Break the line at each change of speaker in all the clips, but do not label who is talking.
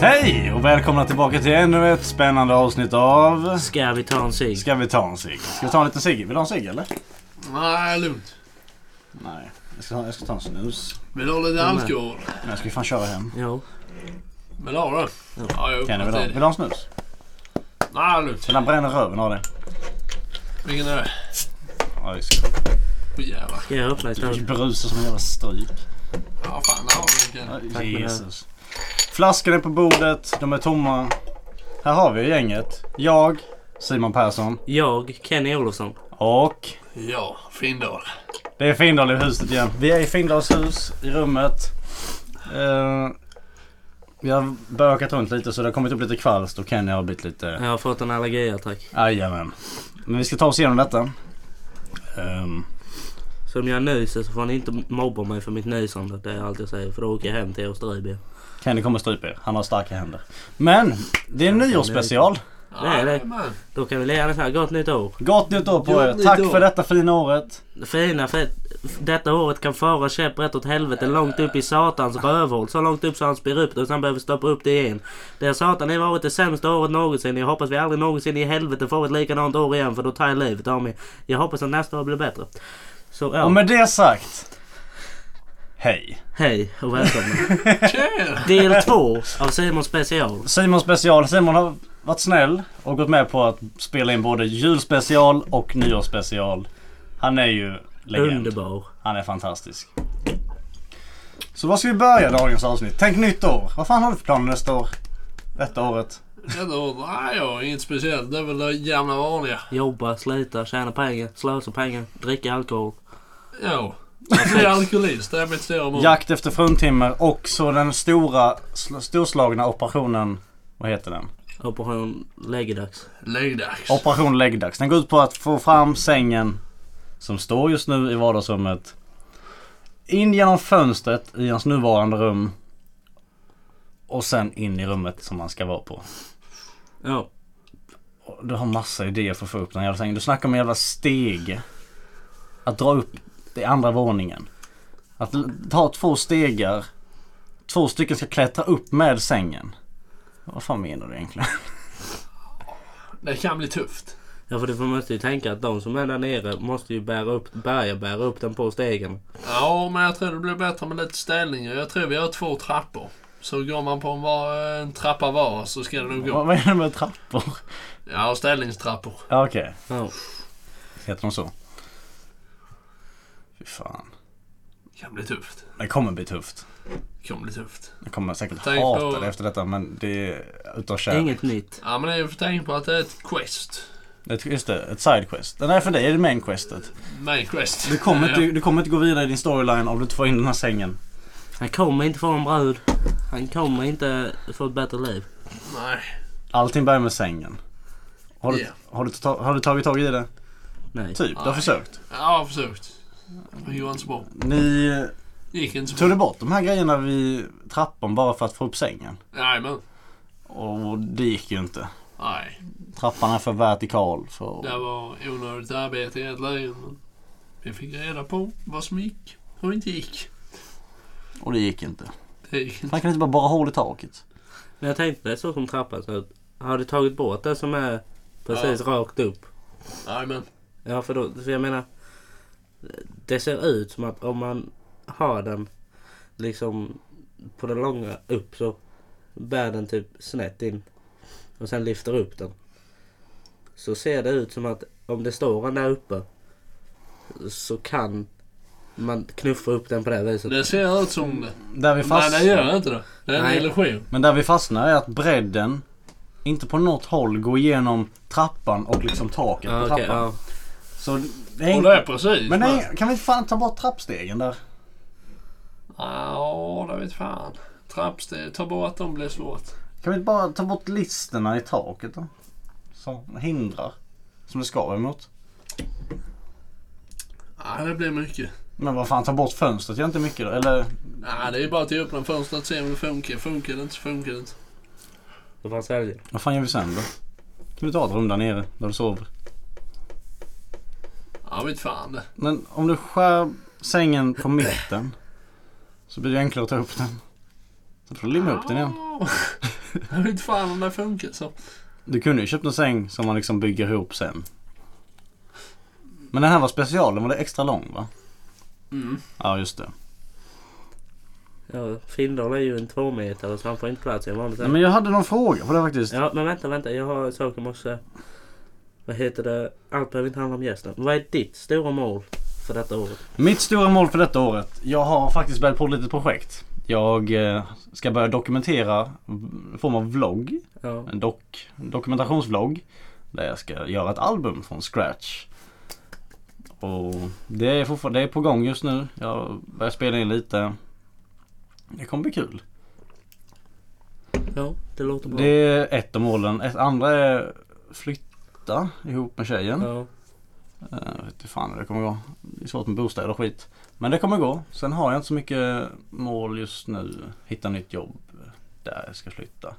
Hej och välkomna tillbaka till ännu ett spännande avsnitt av...
Ska vi ta en cigg?
Ska vi ta en cigg? Ska vi ta en liten cigg? Vill du ha en cigg eller?
Nej, lugnt.
Nej. Jag ska, jag ska ta en snus.
Vill du ha lite
Mm.
alkohol?
Men jag ska ju fan köra hem.
Jo.
Vill du ha det?
Ja.
Ja, jag
Kan jag
öppnar
vill, ha,
till
vill du
dig.
ha en snus?
Nej, lugnt.
Den där bränner röven av dig.
Vilken är det?
Ja, det ska
Åh jävlar.
Ska jag öppna
jag. Du
istället?
brusar som en jävla stryk.
Ja, fan. Där har vi
Ja,
vilken.
Tack,
Jesus. Flaskorna är på bordet. De är tomma. Här har vi gänget. Jag, Simon Persson
Jag, Kenny Olofsson.
och...
Ja, Finndal.
Det är Findal i huset igen. Vi är i Findals hus, i rummet. Eh, vi har bökat runt lite så det har kommit upp lite kvalst och Kenny har blivit lite...
Jag har fått en allergiattack.
Jajamän. Men vi ska ta oss igenom detta. Ehm,
Så om jag nyser så får ni inte mobba mig för mitt nysande. Det är allt jag säger. För då åker jag hem till Australien.
Kenny kommer strypa er. Han har starka händer. Men! Det är en nyårsspecial.
Det är det.
Jajamän.
Då kan vi lägga den här. Gott nytt år.
Gott nytt år på
Gott
er.
nytt
Tack
år.
för detta fina året.
Fina för detta året kan föra käpprätt åt helvete långt upp i satans rövhål. Så långt upp så han spyr upp det och sen behöver stoppa upp det igen. Det har satan har varit det sämsta året någonsin. Jag hoppas vi aldrig någonsin i helvete får ett likadant år igen för då tar jag livet av mig. Jag hoppas att nästa år blir bättre. Så ja,
Och med det sagt. Hej.
hej och välkomna.
Tjena!
Del två av Simons special.
Simon special. Simon har varit snäll och gått med på att spela in både julspecial och nyårsspecial. Han är ju legend.
Underbar.
Han är fantastisk. Så var ska vi börja dagens avsnitt? Tänk nytt år. Vad fan har du för planer nästa år? Detta året?
Detta året? Nej, jag har inget speciellt. Det är väl det gamla vanliga.
Jobba, slita, tjäna pengar, slösa pengar, dricka alkohol.
Ja. Jag blir alkoholist. Det är mitt stora mål.
Jakt efter fruntimmer och så den stora, sl- storslagna operationen. Vad heter den?
Operation läggedags.
Läggdags.
Operation läggdags. Den går ut på att få fram sängen som står just nu i vardagsrummet. In genom fönstret i hans nuvarande rum. Och sen in i rummet som han ska vara på.
Ja.
Och Du har massa idéer för att få upp den här jävla sängen. Du snackar om en jävla steg. Att dra upp det andra våningen. Att l- ta två stegar. Två stycken ska klättra upp med sängen. Vad fan menar du egentligen?
Det kan bli tufft.
Ja för du får- måste ju tänka att de som är där nere måste ju bära upp, börja bära upp den på stegen.
Ja, men jag tror det blir bättre med lite ställningar. Jag tror vi har två trappor. Så går man på en, var, en trappa var så ska det nog gå.
Vad vad är det med trappor?
Ja, ställningstrappor.
Ja, Okej.
Ja.
Heter de så? Fy fan.
Det kan bli tufft.
Det kommer bli tufft.
Det kommer bli tufft.
Jag kommer säkert
Tänk
hata
på-
det efter detta men det är utav kärlek.
Inget nytt.
Ja men det är ju för tänk på att det är ett quest.
Ett, just det, ett sidequest. Den är för dig, det är main questet.
Main quest.
Du kommer,
Ja,
inte, du kommer inte gå vidare i din storyline om du inte får in den här sängen.
Han kommer inte få en brud. Han kommer inte få ett bättre liv.
Nej.
Allting börjar med sängen. Har du,
Ja.
har du, ta, har du tagit tag i det?
Nej.
Typ, du har
Nej.
försökt.
Ja, jag har försökt. Det gick inte så bra.
Ni
Gick inte så
tog
bra.
du bort de här grejerna vid trappan bara för att få upp sängen.
Nej men.
Och det gick ju inte.
Nej.
Trappan är för vertikal. För...
Det var onödigt arbete egentligen. men Vi fick reda på vad som gick och inte gick.
Och det gick inte.
Det gick inte.
Fan kan du inte bara borra hål i taket?
Men jag tänkte det är så som trappan ser ut. Har du tagit bort det som är precis rakt upp?
Nej men.
Ja för då, för jag menar. Det ser ut som att om man har den liksom på den långa upp så bär den typ snett in. Och sen lyfter upp den. Så ser det ut som att om det står en där uppe så kan man knuffa upp den på det viset.
Det ser ut som det.
Där vi
Nej
fast...
det gör inte det. Det är en
Nej.
illusion.
Men där vi fastnar är att bredden inte på något håll går igenom trappan och liksom taket
Ja,
på
okej,
trappan.
ja.
Så det är
Ah, Och
inte...
det är precis.
Men nej, kan vi inte fan ta bort trappstegen där?
Ja det vet fan. Trappsteg. Ta bort dem blir svårt.
Kan vi inte bara ta bort listerna i taket då? Som hindrar. Som det ska emot.
Nej det blir mycket.
Men vad fan, ta bort fönstret gör inte mycket då. Eller
Nej det är ju bara att öppna fönstret och se om det funkar. Funkar det inte så funkar det inte.
Då fanns det älgen.
vad fan gör vi sen då? Kan du ta ett rum där nere där du sover?
Ja vet fan det.
Men om du skär sängen på mitten så blir det enklare att ta upp den. Så får du limma upp den igen.
Ja. Jag vet inte fan om det funkar så.
Du kunde ju köpt en säng som man liksom bygger ihop sen. Men den här var special, den var extra lång va?
Mm.
Ja just det.
Ja, Findal är ju en tvåmetare så han får inte plats i en vanlig
Nej,
säng.
men jag hade någon fråga på det faktiskt.
Ja, men vänta, vänta. Jag har en sak jag måste... Vad heter det? Allt behöver inte handla om gästen. Vad är ditt stora mål för detta året?
Mitt stora mål för detta året. Jag har faktiskt börjat på ett litet projekt. Jag eh, ska börja dokumentera en form av vlogg.
Ja.
En, dok- en dokumentationsvlogg. Där jag ska göra ett album från scratch. Och det är fortfarande det är på gång just nu. Jag börjar spela in lite. Det kommer bli kul.
ja, det låter bra.
Det är ett av målen. Ett andra är flytta ihop med tjejen.
Ja.
Eh, Jag vet inte fan hur det kommer gå. Det är svårt med bostäder och skit. Men det kommer gå. Sen har jag inte så mycket mål just nu. Hitta nytt jobb där jag ska flytta.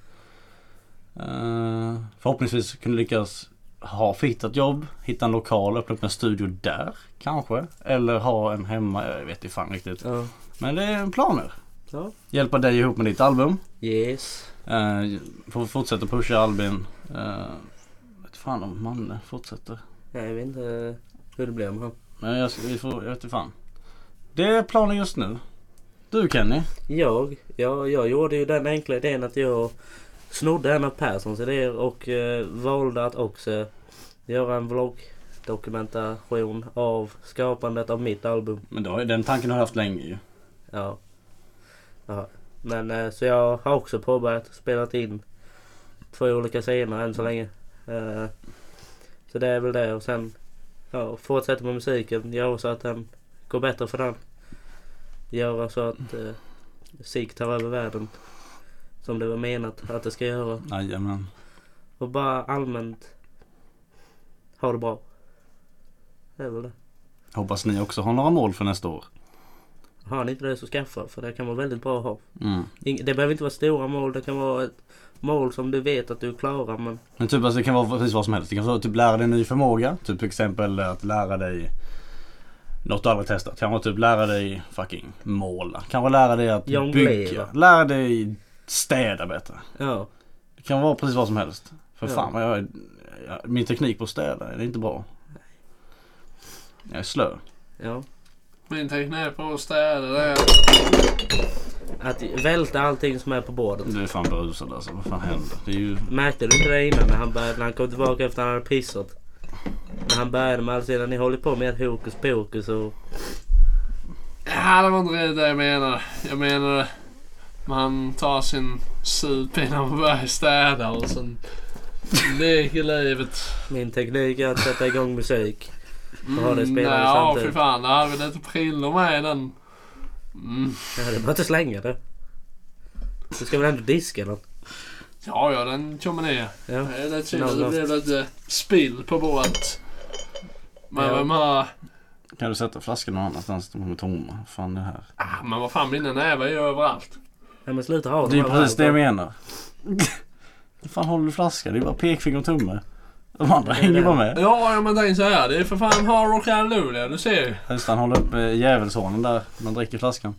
Eh, Förhoppningsvis kunna lyckas ha fitta ett jobb, hitta en lokal, öppna upp en studio där kanske. Eller ha en hemma, jag vet inte fan riktigt.
Ja.
Men det är planer.
ja.
Hjälpa dig ihop med ditt album.
Yes.
Uh, får fortsätta pusha Albin. Uh, vet fan om Manne fortsätter.
Nej, jag vet inte hur det blir med honom.
Men jag, vi får, jag vet inte fan. Det är planen just nu. Du Kenny.
Jag, ja, jag gjorde ju den enkla idén att jag snodde en av Perssons idéer och eh, valde att också göra en vloggdokumentation av skapandet av mitt album.
Men då, den tanken har jag haft länge ju.
Ja. ja. Men eh, så jag har också påbörjat och spelat in två olika scener än så länge. Eh, Så det är väl det och sen ja, fortsätta med musiken. Göra så att den går bättre för den. Göra så att eh, musik tar över världen. Som det var menat att det ska göra.
Jajamän.
Och bara allmänt ha det bra. Det är väl det.
Hoppas ni också har några mål för nästa år.
Har ni inte det så skaffa för det kan vara väldigt bra att ha.
Mm.
Ing- Det behöver inte vara stora mål. Det kan vara ett mål som du vet att du klarar. Men
Men typ alltså, det kan vara precis vad som helst. Det kan vara typ lära dig en ny förmåga. Typ till exempel att lära dig något du aldrig testat. Kanske typ lära dig fucking måla. Kanske lära dig att
Jonglera.
bygga. Lära dig städa bättre.
ja,
Det kan vara precis vad som helst. För
Ja.
fan vad jag är, jag, Min teknik på att städa, det är inte bra. Jag är slö.
ja.
Min teknik på att städa det är...
Att välta allting som är på bordet.
Du är fan berusad alltså. Vad fan händer? Det är ju...
Märkte du inte det innan när han, började, när han kom tillbaka efter att han hade pissat? När han började med allt sedan ni håller på med ett hokus pokus och...
Ja, det var inte riktigt det jag menade. Jag menade... Man tar sin sup innan man börjar städa och sen... Leker livet.
Min teknik är att sätta igång musik. Och ha det
Mm,
spelande
Ja, fy
samtidigt.
fan. Där hade vi lite prillor med i den. Mm.
Ja, det är bara inte slänga det. Du ska väl ändå diska den?
Ja, ja, den kommer ner.
Ja.
Det är lite synd att
Någon-
det blev lite spill på bordet. Men,
Ja.
men, men,
Kan du sätta flaskan någon annanstans? De är tomma. Fan det här.
ah, men vad fan, mina nävar är ju överallt.
Ja men sluta ha
Det är ju
här
precis det jag
varandra.
menar. Vad fan håller du flaskan? Det är bara pekfinger och tumme. De andra
Det är
hänger
det.
bara med.
Ja, ja, men tänk så här. Det är för fan Hard Rock Hallelujah, du ser ju.
Just han håller upp eh, djävulshornen där. Man dricker flaskan.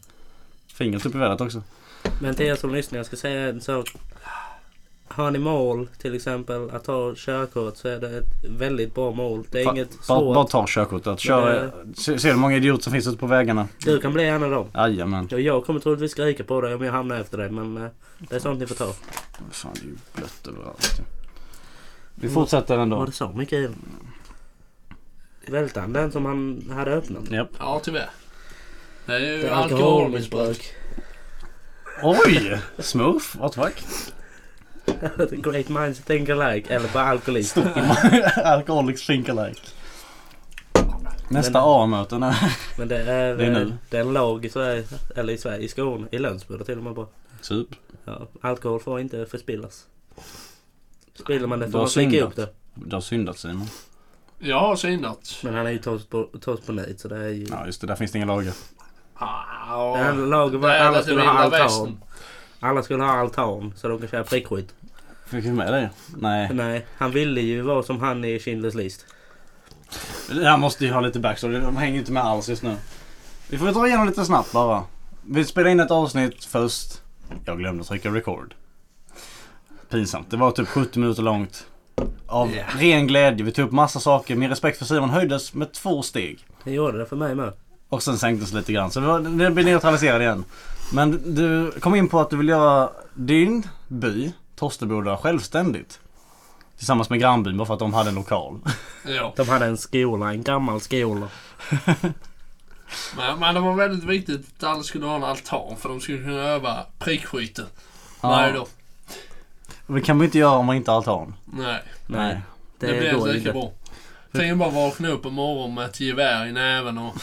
Fingret upp i vädret också.
Men till er som lyssnar, jag ska säga en sak. Har ni mål, till exempel att ta körkort, så är det ett väldigt bra mål. Det är
Fa-
inget
Bara, bara
svårt.
ta körkortet. Kör, se, ser du hur många idioter som finns ute på vägarna?
Du kan bli en av dem.
Jajamän.
Och jag kommer troligtvis skrika på dig om jag hamnar efter dig, men eh, det är sånt ni får ta.
Fan det är ju blött överallt. Vi fortsätter ändå.
Var det så mycket i den? Välte han den som han hade öppnat?
Japp.
Ja, tyvärr. Det är ju
Det är
alkoholmissbruk.
alkoholmissbruk.
Oj! Smurf, what the fuck?
Great minds think alike, eller bara alkoholist.
Alcoholics think alike. Nästa A-möte när...
Men det är,
Det är nu.
eh, det är en lag i Sverige, eller i Sverige, i Skåne, i Lönsboda till och med bara.
Typ.
Ja, alkohol får inte förspillas. Spiller man det
Du
får
har
man slicka
syndat.
upp det.
Du har syndat Simon.
Jag har syndat.
Men han är ju tas på, tas på nöjd så det är ju...
Ja just det, där finns det inga lagar.
Ah, och-
Det här laget var
Det är
alla
lite
skulle ha
vilda
altan.
västern.
Alla skulle ha altan så de kan köra prickskytt.
Fick vi med det? Nej.
Nej, han ville ju vara som han i Schindler's list.
Jag måste ju ha lite backstory. De hänger inte med alls just nu. Vi får dra igenom lite snabbt bara. Vi spelar in ett avsnitt först. Jag glömde trycka record. pinsamt. Det var typ 70 minuter långt. Av
Ja.
ren glädje. Vi tog upp massa saker. Min respekt för Simon höjdes med två steg.
Det gjorde det för mig med.
Och sen sänktes lite grann. Så det var- den blir neutraliserad igen. Men du kom in på att du vill göra din by, Torsteboda, självständigt. Tillsammans med grannbyn bara för att de hade en lokal.
Ja.
De hade en skola, en gammal skola.
Men, men det var väldigt viktigt att alla skulle ha en altan för de skulle kunna öva prickskytte.
Ja.
Varje dag.
Och det kan man ju inte göra om man inte har altan.
Nej,
Nej,
det,
det, det
blev
går
inte
ju
lika
inte.
bra. Tänk bara vakna upp på morgonen med ett gevär i näven och...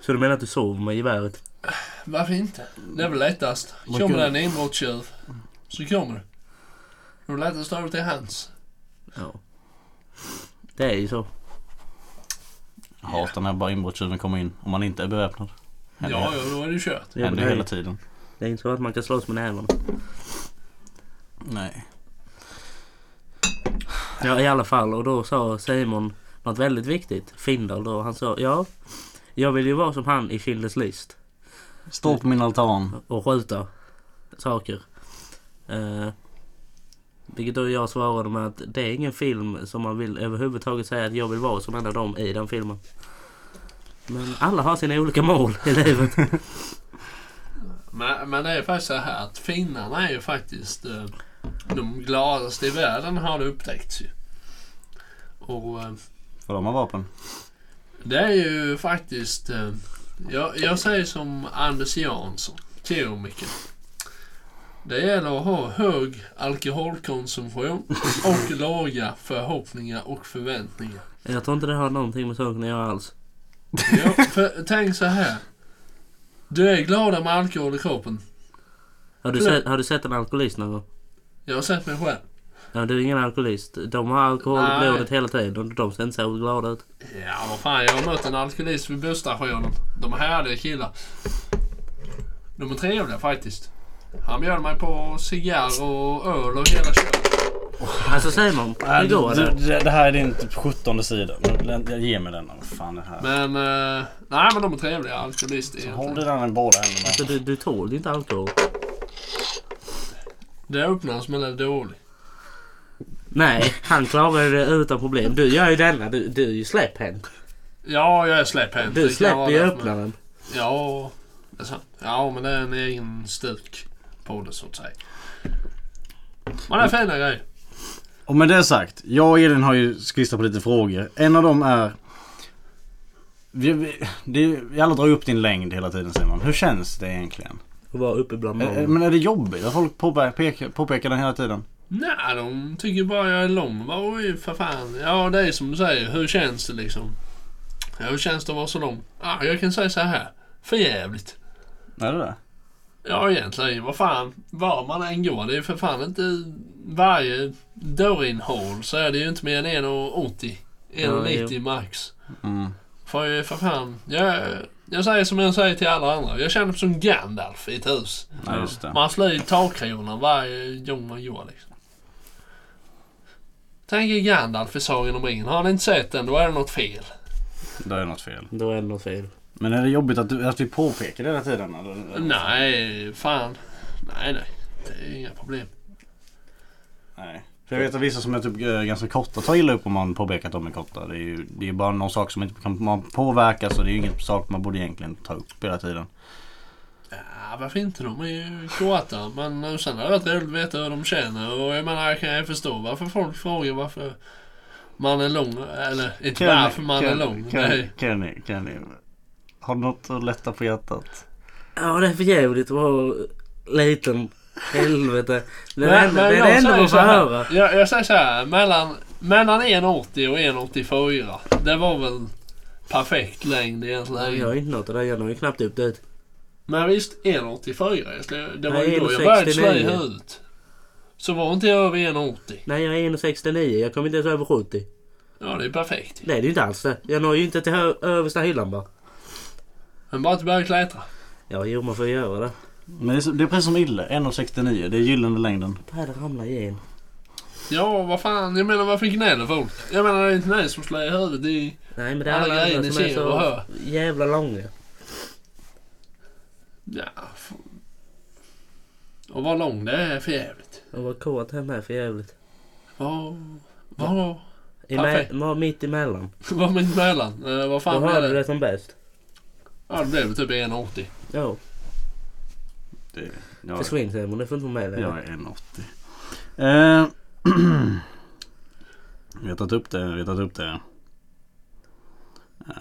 Så du menar att du sov med geväret?
Varför inte? Det är väl lättast.
Man
Kommer det
kan-
en inbrottstjuv så kommer det. Det är lättast över till hans.
Ja. Det är ju så.
Jag hatar när bara inbrottstjuven kommer in om man inte är beväpnad.
Ja,
Händer-
ja, då är det kört.
Ja, men
Händer
det,
hela
är,
tiden.
det är inte så att man kan slåss med nävarna.
Nej.
Ja, i alla fall. Och då sa Simon något väldigt viktigt. Findal då. Han sa ja, jag vill ju vara som han i Schindler's list.
Stå på min altan.
och skjuta saker. Eh, vilket då jag svarade med att det är ingen film som man vill överhuvudtaget säga att jag vill vara som en av dem i den filmen. Men alla har sina olika mål i livet.
Men, men det är faktiskt så här att finnarna är ju faktiskt eh, de gladaste i världen har det upptäckts ju. Och eh,
För de har vapen.
det är ju faktiskt... Eh, jag, jag säger som Anders Jansson, teomiker. Det gäller att ha hög alkoholkonsumtion och låga förhoppningar och förväntningar.
Jag tror inte det har någonting med saken att göra alls.
Ja, för, tänk så här. Du är gladare med alkohol i kroppen.
Har du, sett, har du sett en alkoholist någon gång?
Jag har sett mig själv.
Ja, du är ingen alkoholist. De har alkohol i
Nej.
blodet hela tiden och de ser inte särskilt glada ut.
Ja, vad fan. Jag har mött en alkoholist vid busstationen. De är härliga killar. De är trevliga faktiskt. Han bjöd mig på cigarr och öl och hela köret.
Alltså Simon, det
du,
går det.
det, det här är din typ 17 sida. Men den- Ge mig den. Vad fan är det här?
Men, eh, nej men de är trevliga alkoholister
Håll
egentligen.
dig den i båda händerna.
Alltså, du, du tål ju inte alkohol.
Det öppnas men det är dåligt.
Nej, han klarar det utan problem. Du gör ju denna. Du, du är ju släpphänt.
Ja, jag är släpphänt. Det
Du
kan
släpper
vara
ju
därför, men-
öppnaren.
Ja, det är sant. Ja, men det är en egen stuk på det så att säga. Men det är fina grejer.
Och med det sagt, jag och Elin har ju skissat på lite frågor. En av dem är... Vi, vi, det, vi alla drar ju upp din längd hela tiden Simon. Hur känns det egentligen?
Och vara uppe bland
Är,
molnen.
men är det jobbigt att folk påpekar, pekar, påpekar den hela tiden?
Nej, de tycker bara jag är lång. Vad är det för fan? Ja, det är som du säger. Hur känns det liksom? Ja, hur känns det att vara så lång? Ja, jag kan säga så här. För jävligt.
Är det det?
Ja, egentligen. Vad fan. Var man än går. Det är ju för fan inte... Varje dörrinhål så är det ju inte mer än 1,80. 1,90
Ja,
max.
Mm.
För jag är för fan. Jag, jag säger som jag säger till alla andra. Jag känner mig som Gandalf i ett hus.
Nej, just det.
Man slår i takkronan varje gång man går liksom. Tänk er Gandalf i Sagan om ringen. Har ni inte sett den, då är det något fel.
Det är något fel.
Då är det något fel.
Men är det jobbigt att, du, att vi påpekar det hela tiden? Eller?
Nej, fan. Nej, nej. Det är inga problem.
Nej. För jag vet att vissa som är typ eh, ganska korta tar illa upp om man påpekar att de är korta. Det är ju det är bara någon sak som inte kan man påverka så det är ju ingen sak man borde egentligen ta upp hela tiden.
Ja, varför inte? De är ju kåta. Men eh, sen hade det varit roligt att veta hur de känner. Och jag menar, jag kan ju förstå varför folk frågar varför man är lång. Eller inte varför man är lång.
Kenny,
Nej.
Kenny, Kenny. Har du något att lätta på hjärtat?
Ja, det är för jävligt att vara liten. Helvete. Det är det
Men-
enda-
men
det är
jag
det enda
säger
man
så
får
här.
höra.
Jag, jag säger så här, mellan, mellan 1,80 och 1,84. Det var väl perfekt längd
Jag
egentligen.
gör inte något av det. Jag når ju knappt upp dit.
Men visst, 1,84. jag skulle- Det var
Nej,
ju då jag började
1,69.
slöja ut. Så var inte jag över 1,80.
Nej, jag är 1,69. Jag kommer inte ens över 70.
Ja, det är perfekt.
Nej, det är ju inte alls det. Jag når ju inte till hö- översta hyllan bara.
Men bara att börja klättra.
Ja, jo, man får ju göra det.
Men det är, så- det är precis som Ille, 1,69. Det är gyllene längden.
Vad är det ramlar i en?
Ja, vad fan. Jag menar, varför gnäller folk? Jag menar, det är inte ni som slår i huvudet. Det är,
Nej, men det är
Alla
alla
grejer
andra
ni
som är
ser och
så
hör.
jävla långa.
ja, f- Och vad lång det är för jävligt.
Och vad kåt han är för jävligt.
Var... Var...
I
Perfekt.
me- var mitt emellan.
Var mitt emellan? Eh, vad
Då
fan blev
hörde
det?
du det som bäst.
Ja, det blev väl typ 1,80.
Ja,
Det, jag,
försvinn Simon. Du får inte vara med längre.
jag är 1,80. Eh, vi har tagit upp det, vi har tagit upp det. Eh,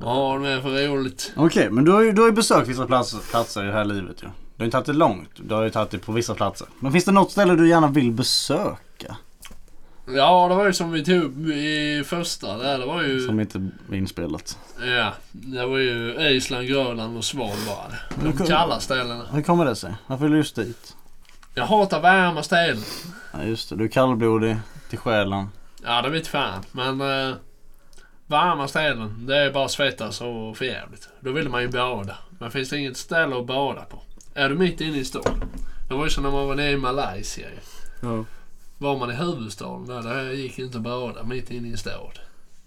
Vad har du med för roligt?
Okej, men du har ju, du har ju besökt vissa platser, platser i det här livet ju. Du har ju tagit det långt. Du har ju tagit det på vissa platser. Men finns det något ställe du gärna vill besöka?
Ja, det var ju som vi tog upp i första där. Det var ju...
Som inte är inspelat.
Ja, det var ju Island, Grönland och Svalbard.
Men kom-
De kalla ställena.
Hur kommer det sig? Varför vill du just dit?
Jag hatar varma ställen.
Ja, just det. Du är kallblodig till själen.
Ja, det vet fan. Men eh, varma ställen, det är bara svettas och för jävligt. Då vill man ju bada. Men finns det inget ställe att bada på? Är du mitt inne i stan? Det var ju som när man var nere i Malaysia ju.
Ja.
Var man i huvudstaden där, det gick inte att bada mitt inne i en stad.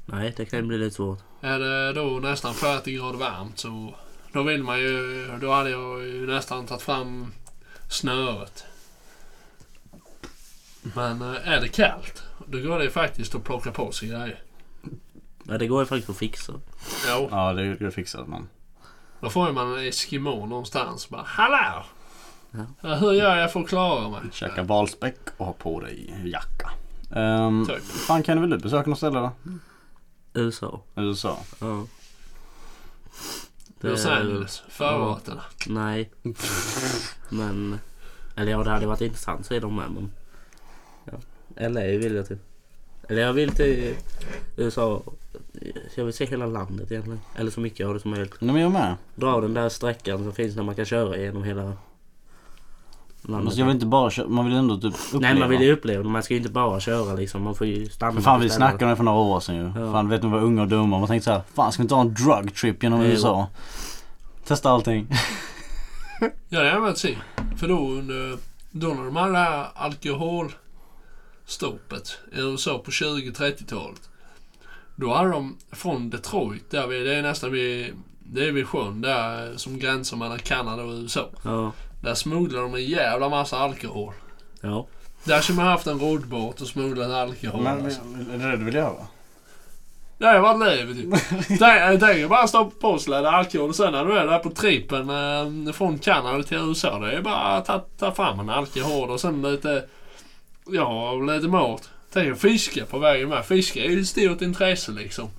Nej, det kan bli lite svårt.
Är det då nästan 40 grader varmt så då vill man ju, då hade jag ju nästan tagit fram snöret. Men eh, är det kallt, då går det ju faktiskt att plocka på sig grejer.
Ja, det går ju faktiskt att fixa.
Jo,
Ja, det är ju fixat men.
då får ju man en eskimo någonstans bara Hallå!
Ja.
Ja. Hur gör jag för att klara mig?
Käka valspäck och ha på dig jacka. Um,
Typ.
fan kan väl du besöka något ställe då?
USA.
USA?
Ja.
Los Angeles, förorterna.
Nej. Men... Eller ja, det hade varit intressant så är de med men... Ja. LA vill jag till. Eller jag vill till USA. Jag vill se hela landet egentligen. Eller så mycket av det som möjligt.
Nej men jag med.
Dra den där sträckan som finns när man kan köra genom hela landet.
Alltså, jag vill inte bara köra, man vill ändå typ uppleva.
Nej man vill ju uppleva det. Man ska ju inte bara köra liksom. Man får ju stanna.
Men fan
på
vi
ställen.
snackade om det för några år sedan ju.
Ja.
Fan vet ni vad unga och dumma. Man tänkte såhär, fan ska vi inte ha en drug trip genom
Jo.
USA? Testa allting.
Ja, det hade varit synd. För då under... Då när de hade det här alkoholstoppet i USA på 20-30-talet. Då hade de från Detroit, där vi, det är nästan vid... Det är vid sjön där som gränsar mellan Kanada och USA.
Ja.
Där smugglar de en jävla massa alkohol.
Ja.
Där skulle man haft en roddbåt och smugglat alkohol. alltså.
är det det du vill göra?
Det har varit livet ju. Tänk- Tänk dig bara stoppa på sig lite alkohol och sen när du är där på trippen eh, från Kanada till USA. Det är bara att ta, ta fram en alkohol och sen lite... Ja, lite mat. Tänk dig fiska på vägen med. Fiska är ju ett stort intresse liksom.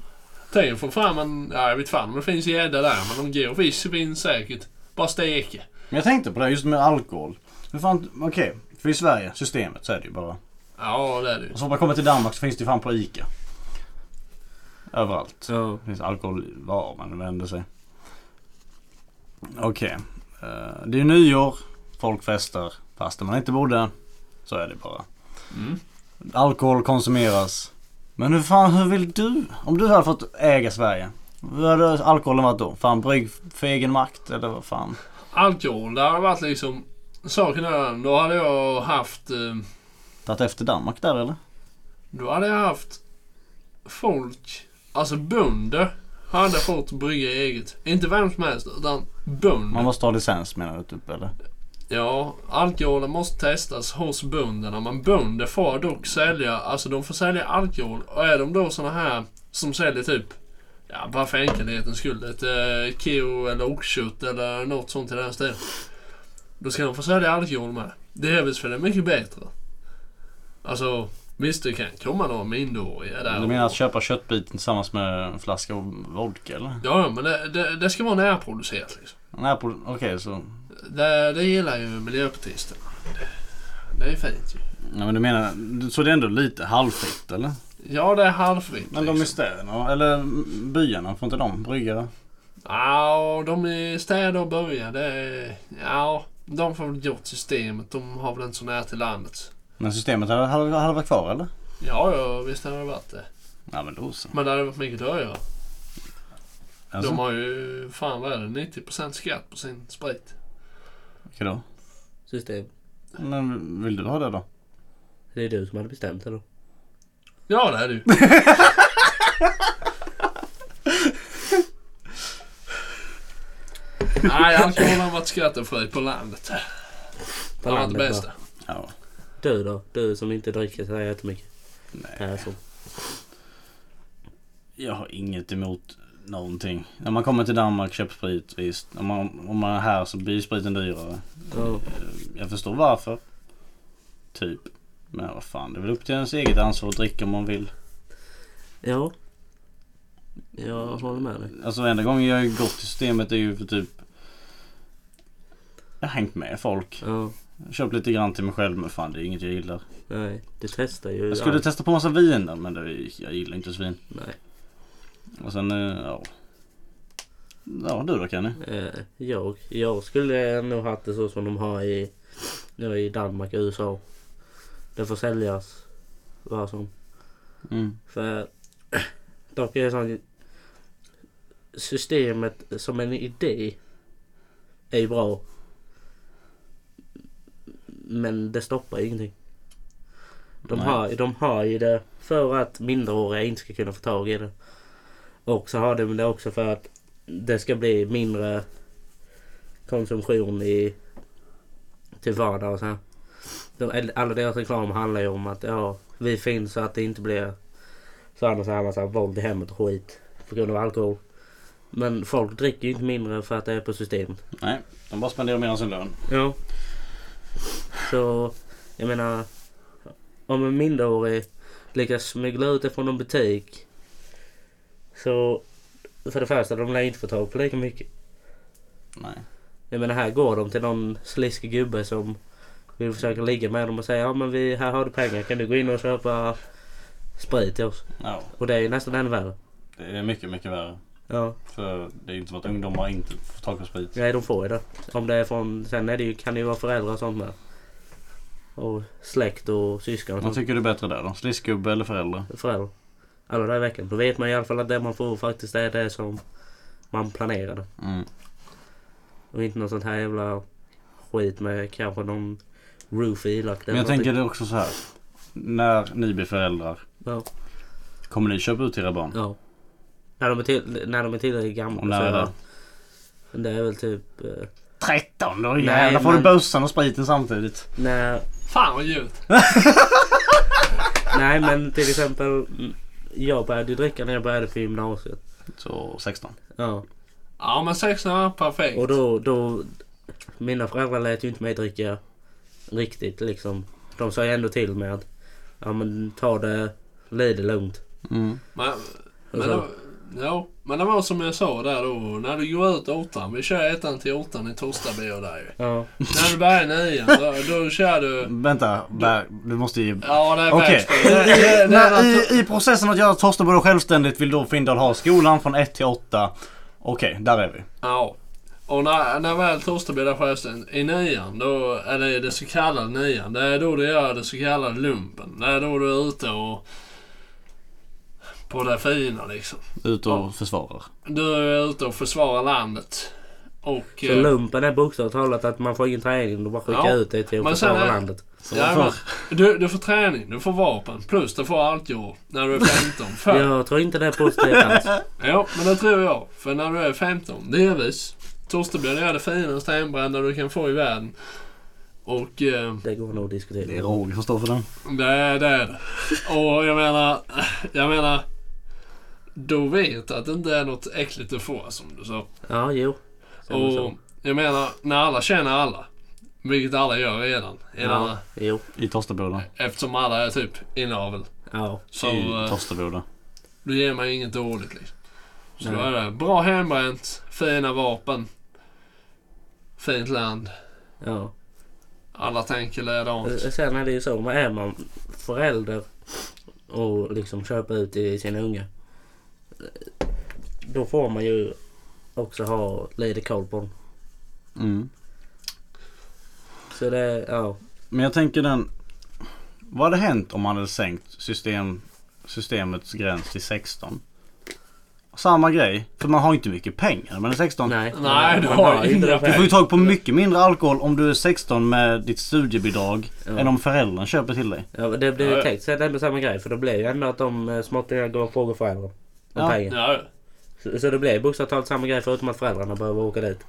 Tänk dig få fram en... Ja, jag vet fan om det finns gädda där men om går fisk finns säkert. Bara steka.
Men jag tänkte på det här just med alkohol. Hur fan, okej. för i Sverige, systemet så är det ju bara.
Ja, det är det ju.
Och så om man kommer till Danmark så finns det ju fan på ICA. Överallt.
Ja.
Det finns alkohol var man vänder sig. Okej. Eh, det är nyår. Folk festar fastän man inte borde. Så är det bara.
Mm.
Alkohol konsumeras. Men hur fan, hur vill du? Om du hade fått äga Sverige. Hur hade alkoholen varit då? Fan brygg för egen makt eller vad fan?
Alkohol, det hade varit liksom... Saken är den, då hade jag haft... Eh,
Tagit efter Danmark där eller?
Då hade jag haft folk, alltså bönder, hade fått brygga eget. Inte vem som helst, utan bönder.
Man måste ha licens menar du typ eller?
Ja, alkoholen måste testas hos bönderna, men bönder får dock sälja, alltså de får sälja alkohol. Och är de då såna här som säljer typ, ja bara för enkelhetens skull, ett eh, keo eller oxkött eller något sånt i den stilen. Då ska de få sälja alkohol med. Det är väl för det är mycket bättre. Alltså, visst det kan komma några minderåriga där.
Du menar
och-
att köpa köttbiten tillsammans med en flaska vodka eller?
Ja, ja, men det, det, det ska vara närproducerat liksom.
Nej, på- okej så
Det, det gillar ju miljöpartisterna. Det, det är fint ju.
Ja, men du menar, så det är ändå lite halvfritt eller?
Ja, det är liksom. halvfritt.
Men de i städerna, eller byarna, får inte de brygga?
Ja, de i städer och börjar. Det är... Ja, de får väl gjort systemet. De har väl inte så nära till landet.
Men systemet hade, hade, hade varit kvar eller?
Ja, ja, visst har det varit det.
Ja men då så.
Men det hade varit mycket dyrare.
Alltså,
De har ju, fan vad är det, 90% skatt på sin sprit.
Okej då.
System.
Men vill du ha det då?
Det är du som hade bestämt det då.
Ja, det är det ju. Nej, alkoholen har varit skattefri på landet.
På
Det har varit
landet
det
då.
bästa.
Ja.
Du då? Du som inte dricker så här jättemycket.
Nej,
Persson.
jag har inget emot någonting. När man kommer till Danmark, köp sprit, visst. Om man, om man är här så blir spriten dyrare.
Ja.
Eh, Jag förstår varför. Typ. Men vad fan, det är väl upp till ens eget ansvar att dricka om man vill.
ja. Jag håller med dig.
Alltså enda gången jag har gått till systemet är ju för typ jag har hängt med folk.
Ja.
Köpt lite grann till mig själv men fan det är inget jag gillar.
Nej. Du testar ju.
Jag skulle
allt.
testa på massa viner men det, jag gillar inte svin.
Nej.
Och sen, eh, ja. Ja du då Kenny?
Eh, jag, jag skulle nog haft det så som de har i, nu i Danmark och USA. Det får säljas vad som.
Mm.
För dock är det sånt systemet som en idé är ju bra. Men det stoppar ju ingenting. De
Nej.
har, de har ju det för att minderåriga inte ska kunna få tag i det. Och så har de det också för att det ska bli mindre konsumtion i till vardag och så här. De, alla deras reklam handlar ju om att ja, vi finns så att det inte blir så här och så här massa våld i hemmet och skit på grund av alkohol. Men folk dricker ju inte mindre för att det är på systemet.
Nej, de bara spenderar mer än sin lön.
Ja. Så jag menar om en minderårig lyckas smuggla ut det från en butik så för det första de lär inte få tag på lika mycket.
Nej.
Jag menar här går de till någon sliskig gubbe som vill försöka ligga med dem och säga ja men vi, här har du pengar kan du gå in och köpa sprit till oss.
Ja,
Och det är ju nästan ännu värre.
det är mycket, mycket värre.
Ja.
För det är ju inte som att ungdomar inte får tag på sprit.
Nej, de får ju det. Om det är från... Sen är det ju, kan det ju vara föräldrar och sånt med. Och släkt och syskon och
Vad
sånt.
tycker du är bättre där då? Sliskgubbe eller föräldrar?
Föräldrar. Alla dagar i veckan. Då vet man i alla fall att det man får faktiskt är det som man planerade.
Mm.
Och inte något sånt här jävla skit med kanske någon roofie elakt.
Men jag tänker det också så här. När ni blir föräldrar.
Ja.
Kommer ni köpa ut till era barn?
ja. När de är, till, när de är tillräckligt gamla.
Och när är det?
det? Det är väl typ... Eh,
13 då
Nej,
jävlar får du
men-
bössan och spriten samtidigt.
när
Fan vad ljud.
Nej men till exempel mm, jag började ju dricka när jag började på gymnasiet.
Så 16.
Ja.
Ja men 16 är perfekt.
Och då, då... Mina föräldrar lät ju inte mig dricka riktigt liksom. De sa ju ändå till mig att ja men ta det lite lugnt.
Mm.
Men, men,
Och så-
det, ja, men det var som jag sa där då. När du går ut åttan. Vi kör ettan till åttan i Torstabio där ju.
Ja.
När du börjar nian då, då kör du...
Vänta, Ber- du måste ju...
Ja det är
Okej.
backspin. Det, det, det,
När-
är-
I, I processen att göra Torstenborg självständigt vill då Findal ha skolan från 1 till 8. Okej, där är vi.
Ja. Och när, när väl Torsteby där förresten, i nian, då, eller det så kallade nian, det är då du gör det så kallade lumpen. Det är då du är ute och... På det fina liksom.
Ut och försvarar.
Du är ute och försvarar landet. Och...
Så
eh,
lumpen är bokstavligt talat att man får ingen träning och bara skickar
Ja.
ut det till att
Men sen
försvara
är-
landet.
Så
eh, ja,
varför-
men du, du får träning, du får vapen, plus du får alkohol när du är 15. För, ja.
Jag tror inte det är positivt alls.
Jo, men det tror jag. För när du är 15, delvis. Torsteby är det finaste hembrända du kan få i världen. Och... Eh,
Det går nog att
Det är
diskutera.
Roger som står för den.
Nej, det är det. Och jag menar, jag menar, du vet att det inte är något äckligt att få som du sa.
Ja, jo. Så är det
Och
så.
jag menar, när alla känner alla, vilket alla gör redan, i denna,
Ja, jo.
I Torsteboda.
eftersom alla är typ inavel,
Ja.
så
I
eh,
Torsteboda.
då ger man inget dåligt liksom. Så då
Nej.
är det bra hembränt, fina vapen, fint land,
Ja.
alla tänker likadant.
Eh, Sen är det ju så, vad är man förälder och liksom köper ut till sina unga. Eh, Då får man ju också ha lite koll på dem.
Mm.
Så det, ja.
Men jag tänker den... Vad hade hänt om man hade sänkt system, systemets gräns till 16? Samma grej. För man har inte mycket pengar när man är 16.
Nej.
Nej, du
Man
har
ju inte
inga
det.
Du får ju tag på mycket mindre alkohol om du är 16 med ditt studiebidrag
Ja.
än om föräldern köper till dig.
Ja, det blir
Ja,
ju
ja.
tänkt sig ändå samma grej. För det blir ju ändå att de eh, småttingar går och frågar föräldrar. Om
Ja.
pengar.
Ja,
Så, så det blir ju bokstavligt talat samma grej förutom att föräldrarna behöver åka dit.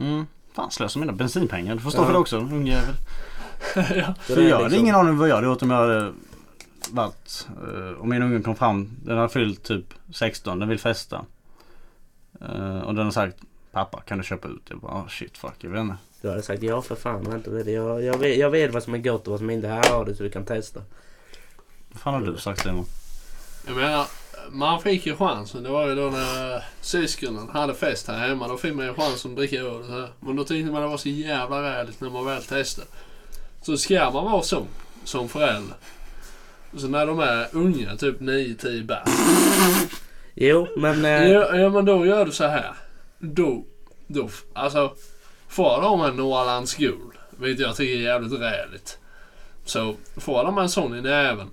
Mm. Fan slösa mina bensinpengar. Du får stå
Ja.
för det också ungjävel.
ja.
För jag
liksom-
hade ingen aning vad jag hade gjort om jag hade varit... eh, om min unge kom fram. Den hade fyllt typ 16. Den vill festa. Eh, och den har sagt Pappa kan du köpa ut? Jag bara "Ah, shit fuck jag vet inte.
Du hade sagt ja för fan. Vänta, det är det. jag, jag, vet, jag vet vad som är gott och vad som inte är. Här har du så du kan testa.
Vad fan har du sagt Simon?
Jag menar, man fick ju chansen. Det var ju då när syskonen hade fest här hemma. Då fick man ju chansen att dricka öl och så här. Men då tyckte man det var så jävla räligt när man väl testade. Så ska man vara så, som förälder. Och Så när de är unga, typ 9-10 bast.
Jo, men... Eh,
Ja, ja, men då gör du så här. Då, då, alltså. Får de en Norrlands gul, vilket jag tycker är jävligt räligt. Så får de en sån i näven.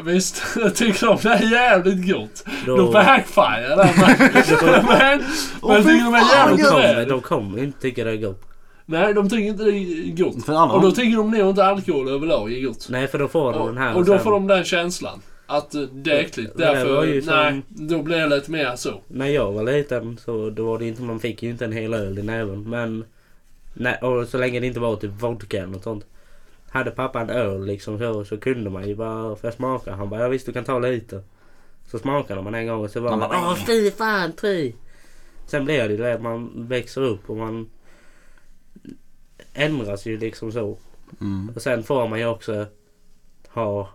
Visst, tycker de det är jävligt gott.
Då-
Då backfirar det. Men, men, men tycker de är
De
jävligt
kommer,
räligt.
de kommer inte tycka det är gott.
Nej, de tycker inte det är gott.
För alla
Och
har-
då tycker de nog inte alkohol överlag är gott.
Nej, för då får de den här.
Och, och då
sen-
får de den känslan. Att eh, det är äckligt.
Det där var ju
Därför,
som-
nej, då blir det lite mer så.
När jag var liten så då var det inte, man fick ju inte en hel öl i näven. Men... Nej, och så länge det inte var typ vodka eller något sånt. Hade pappa en öl liksom så, så kunde man ju bara... Får jag smaka? Han bara, ja visst du kan ta lite. Så smakade man en gång och så var
Man
man...
bara,
Åh fy fan, tri! Sen blir det ju det att man växer upp och man... Ändras ju liksom så.
Mm.
Och sen får man ju också ha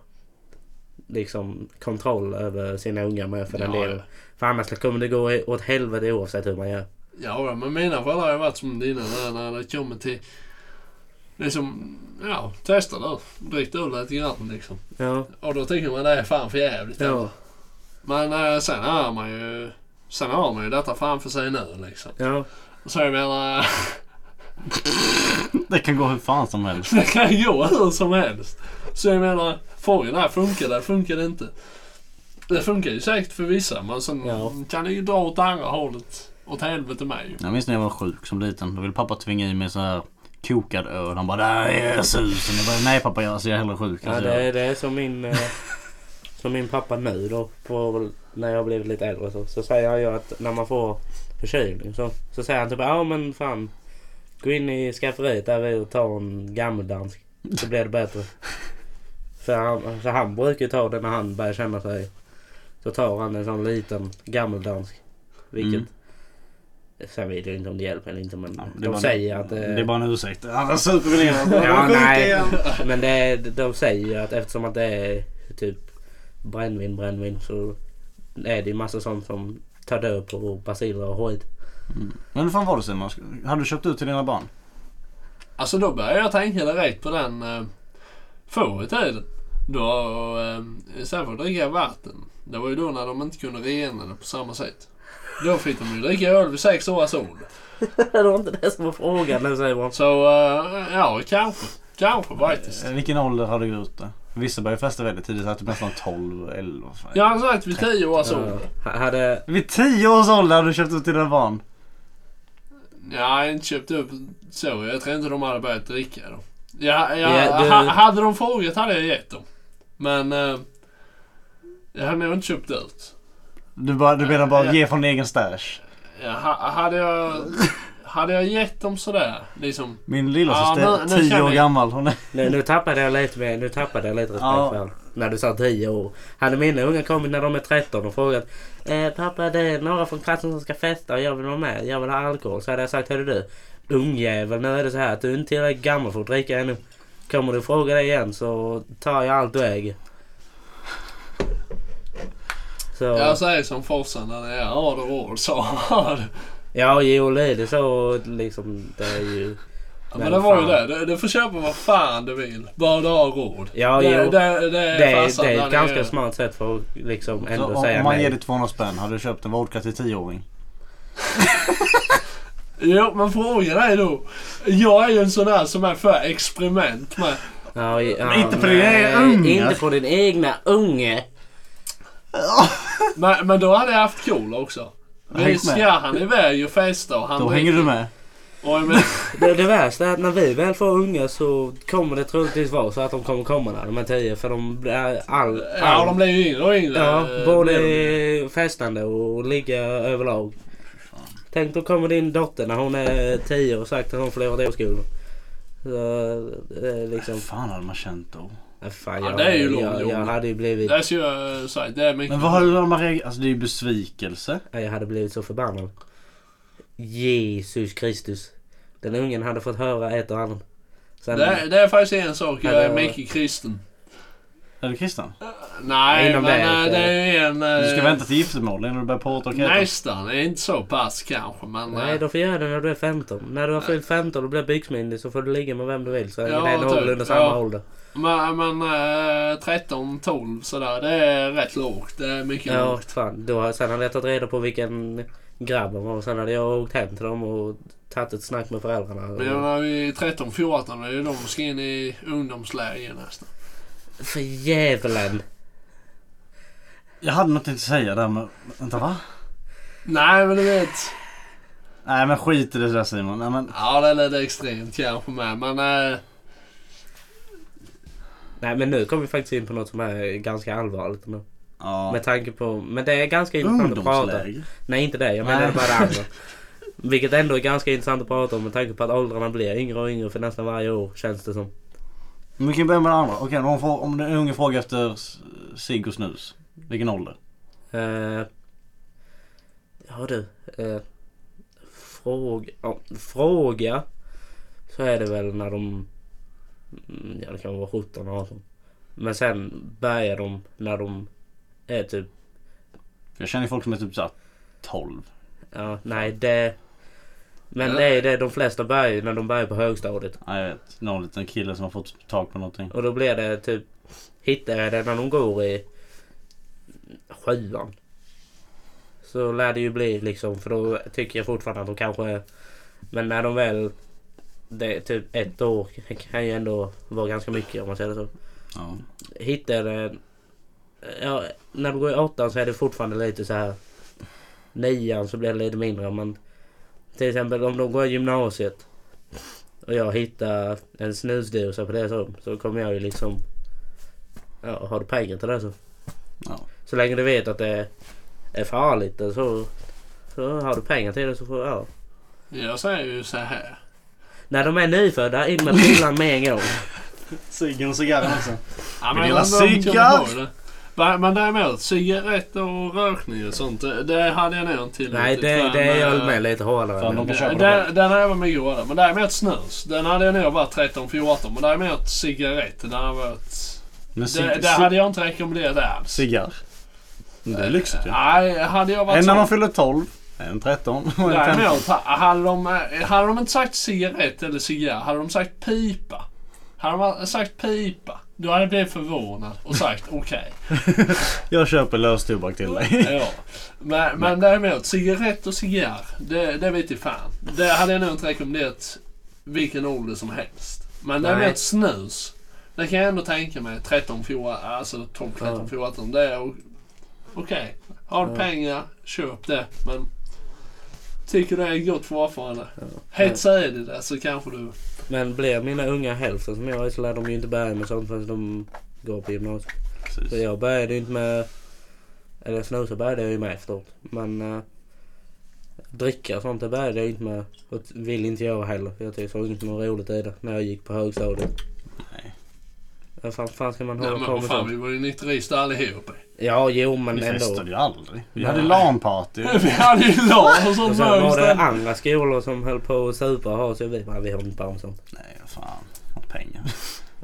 liksom kontroll över sina unga med för den
Ja,
delen.
ja.
För annars så kommer det gå åt helvete oavsett hur man gör.
Ja, då, men mina föräldrar har ju varit som dina när- när det kommer till... Liksom, ja, testa då. Drick öl lite grann liksom.
Ja.
Och då tycker man det är fan för jävligt.
Ja.
Men eh, sen har man ju... Sen har man ju detta framför sig nu liksom.
Ja.
Så jag menar,
Det kan gå hur fan som helst.
det kan gå hur som helst. Så jag menar, frågan är funkar det, funkar det inte? Det funkar ju säkert för vissa men sen
Ja.
kan det ju dra åt andra hållet. Åt helvete med ju.
Jag minns när jag var sjuk som liten. Då ville pappa tvinga i mig sån här kokad öl. Han bara det här är susen. Jag bara nej pappa jag, alltså, jag är hellre sjuk.
ja
Alltså,
det,
jag,
är- det är som min, eh, som min pappa nu då. På, när jag blivit lite äldre så, så säger han ju att när man får förkylning så, så säger han typ ja men fan. Gå in i skafferiet där och ta en gammeldansk. Så blir det bättre. För han, så han brukar ju ta det när han börjar känna sig. Så tar han en sån liten gammeldansk. Vilket.
Mm.
Sen vet jag inte om det hjälper eller inte men
Ja, det är
de
bara-
säger att eh,
det är bara en ursäkt. Alla super vi ner.
Ja, nej. Men det, är- de säger ju att eftersom att det är typ brännvin, brännvin så är det ju massa sånt som tar död på basiller och skit.
Men hur fan var det Simon? Hade du köpt ut till dina barn?
Alltså då började jag tänka direkt på den eh, förr i tiden. Då, eh, istället för att dricka vatten. Det var ju då när de inte kunde rena det på samma sätt. Då fick de ju dricka öl vid sex års ålder.
det var inte det som var frågan nu säger man.
Så eh, ja, kanske. Kanske faktiskt.
Eh, Vilken ålder hade du gjort det? Vissa börjar festa väldigt tidigt. Så här typ nästan 12, 11. vad fan.
Jag hade sagt vid tio års
Ja,
ålder.
ha- hade,
Vid 10 års ålder hade du köpt ut till dina barn.
Ja, jag inte köpt upp så. Jag tror inte de hade börjat dricka då. Ja, ja,
Ja, du-
ha, hade de frågat hade jag gett dem. Men eh, jag hade nog inte köpt ut.
Du, bara, du menar bara
Ja.
ge från egen stash.
Ja, ha, hade, jag, hade jag gett dem sådär, liksom...
Min lillasyster
Ja,
är
nu- nu
10
känner
år
jag.
gammal. Hon är...
nu, nu tappade jag lite, med, nu tappade jag lite respekt
Ja.
för honom. När du sa 10 år. Hade mina unga kommit när de är 13 och frågat eh, Pappa det är några från klassen som ska festa och jag vill vara med. Jag vill ha alkohol. Så hade jag sagt hörru du ungjävel nu är det så här att du är inte tillräckligt gammal för att dricka ännu. Kommer du fråga det igen så tar jag allt du äger. Så,
Jag säger som farsan när det är Arder Ål sa han.
ja, jo det är det så liksom. Det är ju...
Ja, Men det var ju det. Du, du får köpa vad fan du vill. Bara du har råd.
Ja,
det,
jo.
det, det
Det
är
är,
farsan.
det är
han
ett ganska smart sätt för att liksom
Så
ändå
om,
säga
om man
nej.
ger dig 200 spänn, hade du köpt en vodka till 10-åring?
Jo, men frågan är då. Jag är ju en sån där som är för experiment med.
Ja, ja,
Men inte på din
nej,
egen unge.
Inte på din egna unge.
Men, men då hade jag haft kul också. Men
Häng med.
ska han iväg och festa och han
Då hänger du med.
Och jag menar,
Det, det värsta är att när vi väl får unga så kommer det troligtvis vara så att de kommer komma där, de här tio. För de blir all...
ja,
all
de blir ju yngre och yngre.
ja,
eh, blir de ju.
både festande och ligga överlag. Tänk då kommer din dotter när hon är tio och sagt att hon förlorat årsskolan. Så, eh, liksom,
Vad fan hade man känt då?
nej, fan,
Ja,
jag,
det är ju
jag,
lång-
jag
lång.
hade ju blivit,
Det ska jag säga. Det är mycket.
Men vad har man reagerat? Alltså det är ju besvikelse.
nej, jag hade blivit så förbannad. Jesus Kristus. Den ungen hade fått höra ett och annat. Sen,
det, är- det är faktiskt en sak.
Ja,
Jag
det
är
var-
mycket kristen.
Är du kristen?
Nej,
Inom
men
det,
eh,
inte.
det är ju en... eh,
Du ska vänta till giftermål innan du börjar prata och heta.
Nästan. Inte så pass kanske, men...
Nej,
eh,
då får göra det när du är 15. När du har fyllt 15 och blir byxmyndig så får du ligga med vem du vill. Så
Ja,
det är någorlunda
typ.
samma
Ja.
ålder.
Men, men eh, 13, 12 sådär. Det är rätt lågt. Det är mycket
Ja,
lågt.
fan. Då, har- sen hade jag tagit reda på vilken grabb han var. Sen hade jag åkt hem till dem och tagit ett snack med föräldrarna.
Men jag menar, vi är 13, 14. Det är ju de som ska in i ungdomsläger nästan.
För djävulen!
Jag hade något att säga där men... Vänta va?
Nej, men du vet.
Nej men skit i det där Simon. Nej, men...
Ja, det är lite extremt kanske med. Men eh,
Nej men nu kommer vi faktiskt in på något som är ganska allvarligt. nu.
Ja.
Med tanke på... Men det är ganska intressant att prata
Ungdomsläger?
Nej inte det, jag menar
Nej.
bara det andra. Vilket ändå är ganska intressant att prata om med tanke på att åldrarna blir yngre och yngre för nästan varje år känns det som.
Men vi kan börja med det andra. Okej, om, hon får, om den unge frågar efter s- cigg och snus. Vilken ålder?
Eh, ja du. eh, fråga, ja, fråga. Så är det väl när de... mm, Ja det kan vara 17, 18. Men sen börjar de när de är typ...
Jag känner ju folk som är typ såhär 12.
Ja, nej det... Men
Ja.
det är det de flesta börjar ju när de börjar på högstadiet.
Ja, jag vet. Någon liten kille som har fått tag på någonting.
Och då blir det typ... Hittar jag det när de går i sjuan. Så lär det ju bli liksom för då tycker jag fortfarande att de kanske är... Men när de väl... Det är typ ett år kan ju ändå vara ganska mycket om man säger det så.
Ja.
Hittar jag det... Ja, när de går i åttan så är det fortfarande lite så här... Nian så blir det lite mindre men... Till exempel om de går i gymnasiet och jag hittar en snusdosa på deras rum så kommer jag ju liksom... Ja, har du pengar till det så.
Ja.
Så länge du vet att det är farligt och så, så har du pengar till det så får ja.
jag säger ju så här.
När de är nyfödda, in med pilan med en gång.
Ciggen och cigarren också.
Ja,
Vi delar
ändå inte
ciggar.
jag har det. Va- Men däremot cigaretter och rökning och sånt. Det, det hade jag nog inte tillåtit.
Nej, det,
Men,
det är
eh,
jag med lite hårdare.
Fan, de
Men,
kan köpa det.
Den, den här var mycket godare. Men däremot snus. Den hade jag nog varit 13-14. Men däremot cigaretter. Den hade varit...
Men cig-
Det, det
cig-
hade jag inte rekommenderat alls.
Cigarr. Det är lyxigt ju.
Nej, hade jag varit
En när
så...
man fyller 12. En 13 och en 15.
Däremot, ha- hade de, eh, hade de inte sagt cigarett eller cigarr, hade de sagt pipa. Hade de sagt pipa, då hade jag blivit förvånad och sagt okej.
Jag köper löstobak till dig.
Ja. Men, men däremot, cigarett och cigarr, det, det vet jag fan. Det hade jag nog inte rekommenderat vilken ålder som helst. Men
Nej.
däremot snus, det kan jag ändå tänka mig 13, 14, alltså 12, 13, 14. Det är o- okej. Har du
Ja.
pengar, köp det. Men tycker det är gott fortfarande. Hetsa i det där så kanske du...
men blir mina unga hälften som jag är så lär de ju inte börja med sånt förrän de går på gymnasiet. Så jag började ju inte med... Eller snusa började jag ju med efteråt. Men eh, dricka och sånt det började jag inte med. Och t- vill inte jag heller. För jag tyckte det var inte något roligt i det när jag gick på högstadiet.
Nej.
Vad fan, fan ska man
Nej
hålla
men
på
vad
med
fan,
sånt?
vi var ju nykterister allihopa.
Ja, jo men
Vi
ändå.
festade ju aldrig. Vi
Nej.
hade LAN-party.
Vi hade ju lag och
Och
sånt
sen var det
där
andra skolor som höll på att supa och ha så vi bara, vi håller inte på med sånt.
Nej, fan. Och pengar.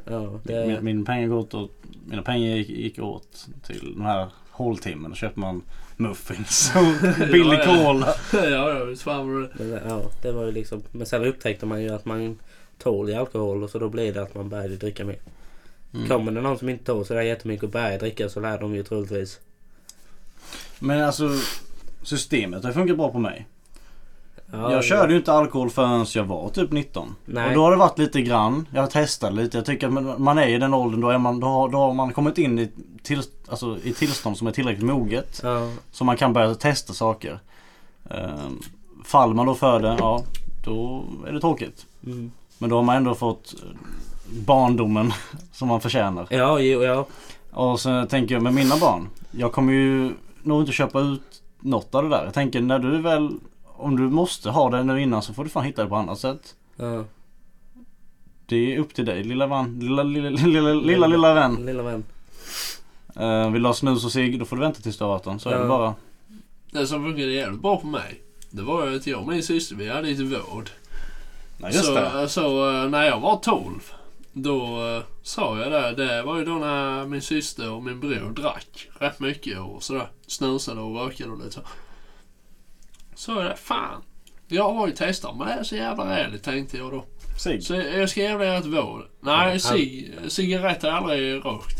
Ja,
Min,
det,
min pengar går åt, åt, mina pengar gick, gick åt till den här håltimmen. Då köpte man muffins och billig
Ja, ja.
cola.
Ja, ja, visst fan var det.
det, eh, ja, det var ju liksom. Men sen upptäckte man ju att man tål i alkohol och så då blir det att man började dricka mer.
Mm.
Kommer det någon som inte tål sådär jättemycket och börjar dricka så lär de ju troligtvis.
Men alltså systemet har funkat bra på mig.
Ja,
jag körde ju inte alkohol förrän jag var typ 19.
Nej.
Och då har det varit lite grann. Jag har testat lite. Jag tycker att man- man är i den åldern då, är man, då, har, då har man kommit in i, till, alltså, i tillstånd som är tillräckligt moget.
Ja,
Så man kan börja testa saker. Ehm, faller man då för det, ja då är det tråkigt.
mm.
Men då har man ändå fått eh, barndomen som man förtjänar.
ja, jo, ja.
Och sen tänker jag med mina barn. Jag kommer ju nog inte köpa ut något av det där. Jag tänker när du väl, om du måste ha det nu innan så får du fan hitta det på annat sätt.
ja.
Det är upp till dig lilla vän. Lilla, lilla, lilla, lilla, lilla vän.
Lilla vän.
Eh, vill du ha snus och cigg? Då får du vänta tills du är 18. Så är det
Ja.
bara.
Det som funkade jävligt bra på mig. Det var ju att jag och min syster vi hade lite vård.
Nej,
så, så eh, när jag var 12 då eh, sa jag det. Det var ju då när min syster och min bror drack rätt mycket och sådär. Snusade och rökade och lite så. Så är det. Fan. Jag har ju testat men det är så jävla ärligt tänkte jag då.
Cigg.
Så jag ska jävla göra ett vård.
Ja,
Nej, cig, cigarett har jag aldrig rökt.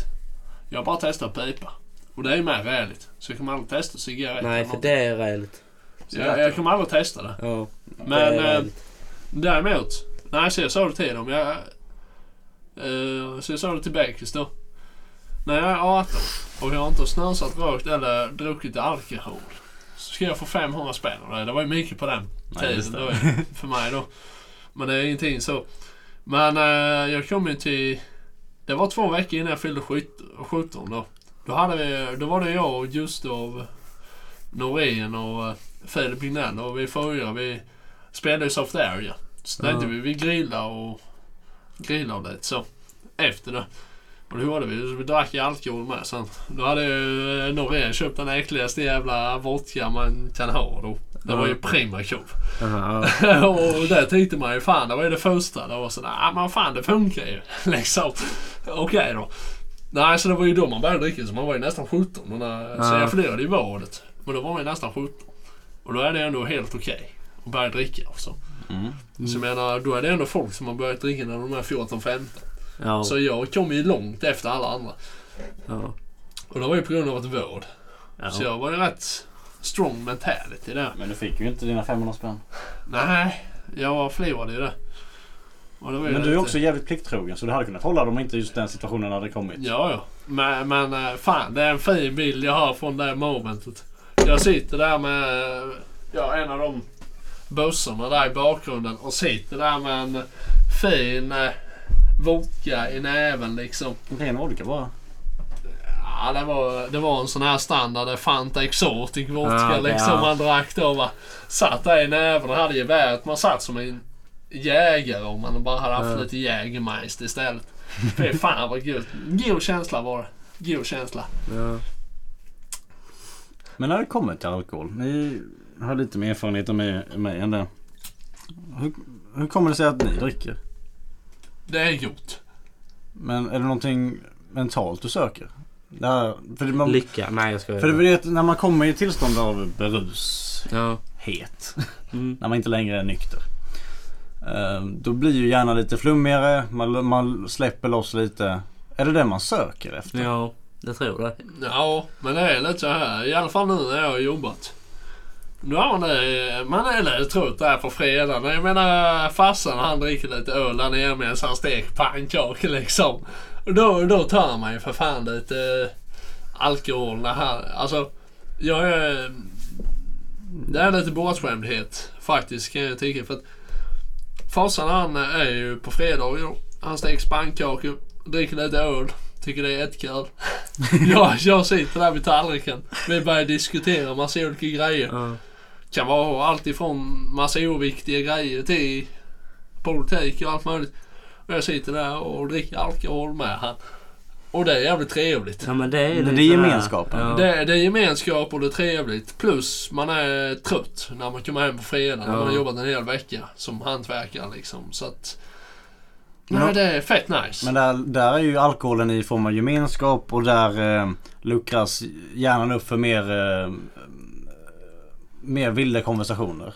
Jag har bara testat pipa. Och det är ju mer ärligt. Så jag kommer aldrig testa cigarett.
Nej, för det är räligt.
jag, jag kommer aldrig testa det.
Ja,
Men...
det är
eh,
räligt.
Däremot, nej så jag sa det till dem. Jag, eh, så jag sa det till Bergqvist då. När jag är 18 och jag har inte snusat, rökt eller druckit alkohol. Så ska jag få 500 spänn av det. Det var ju mycket på den
Nej,
tiden
just
då,
det.
för mig då. Men det är ingenting så. Men eh, jag kom ju till... Det var två veckor innan jag fyllde sjut- 17 då. Då, hade vi, då var det jag och Gustav Norén och eh, Filip Lignell och vi fyra vi spelade i Soft Area. Så tänkte
Ja.
vi vi grillade och grillade lite så. Efter det. Och det gjorde vi. Så vi drack ju alkohol med sen. Då hade ju eh, Norén köpt den äckligaste jävla vodka man kan ha då. Det var ju
Ja.
Primakov.
Aha, ja.
och där tänkte man ju fan det var ju det första. Det var sådär, ah, men fan det funkar ju. liksom. Okej då. Nej, så det var ju då man började dricka. Så man var ju nästan 17. Och när, Så
Ja.
jag förlorade ju vadet. Men då var man ju nästan 17. Och då är det ändå helt okej. att börja dricka och så.
Mm.
Så jag menar, då är det ändå folk som har börjat dricka när de är 14-15.
Ja,
Så jag kom ju långt efter alla andra.
ja,
Och det var ju på grund av ett vård. Så
ja.
jag var ju rätt strong mentality där.
Men du fick ju inte dina 500 spänn.
Nej, jag förlorade ju det. Och det var ju
Men du är
rätt-
också jävligt plikttrogen så du hade kunnat hålla dem inte just den situationen hade kommit.
Ja, ja. Men, men eh, fan, det är en fin bild jag har från det momentet. Jag sitter där med eh, ja, en av de bussarna där i bakgrunden och sitter där med en fin eh, vodka i näven liksom.
En ren vodka bara.
Ja, det, var, det var en sån här standard Fanta Exotic vodka
Ja, det-
liksom
ja.
man drack då va. Satt där i näven och hade geväret. Man satt som en jägare om man bara hade haft
Ja.
lite Jägermeister istället. Fy fan vad gött. God känsla var det. God känsla.
ja.
Men när det kommer till alkohol. Ni har lite mer erfarenhet än mig, mig än det. Hur, hur kommer det sig att ni dricker?
Det är gjort.
Men är det någonting mentalt du söker? Det här, för det, man,
Lycka. Nej, jag skojar.
för det, är det, när man kommer i tillstånd av berushet.
Ja. Mm.
När man inte längre är nykter. Eh, Då blir ju hjärnan lite flummigare. Man, man släpper loss lite. Är det det man söker efter?
Ja, jag tror det.
Ja, men det är lite så här. I alla fall nu när jag har jobbat. Nu har man, det- man är lite trött där på fredagen. Jag menar farsan han dricker lite öl där nere medan han steker pannkakor liksom. Och Då, då tar man ju för fan lite eh, alkohol när han... Alltså, jag är... Det är lite bortskämdhet faktiskt kan jag tycka. För att farsan han är ju på fredagar. då. Han steker pannkakor, dricker lite öl. Tycker det är jättekul. jag, jag sitter där vid tallriken. Vi börjar diskutera massa olika grejer.
Ja.
Kan vara allt ifrån massa oviktiga grejer till politik och allt möjligt. Och jag sitter där och dricker alkohol med han. Och det är jävligt trevligt.
ja, men det är
Men
lite
det är
så här.
gemenskapen.
Ja.
Det, det är gemenskap och det är trevligt. Plus man är trött när man kommer hem på fredag. När man har
Ja.
jobbat en hel vecka som hantverkare liksom. Så att...
Men-
Nej, det är fett nice.
Men där, där är ju alkoholen i form av gemenskap och där eh, luckras hjärnan upp för mer, eh, mer vilda konversationer.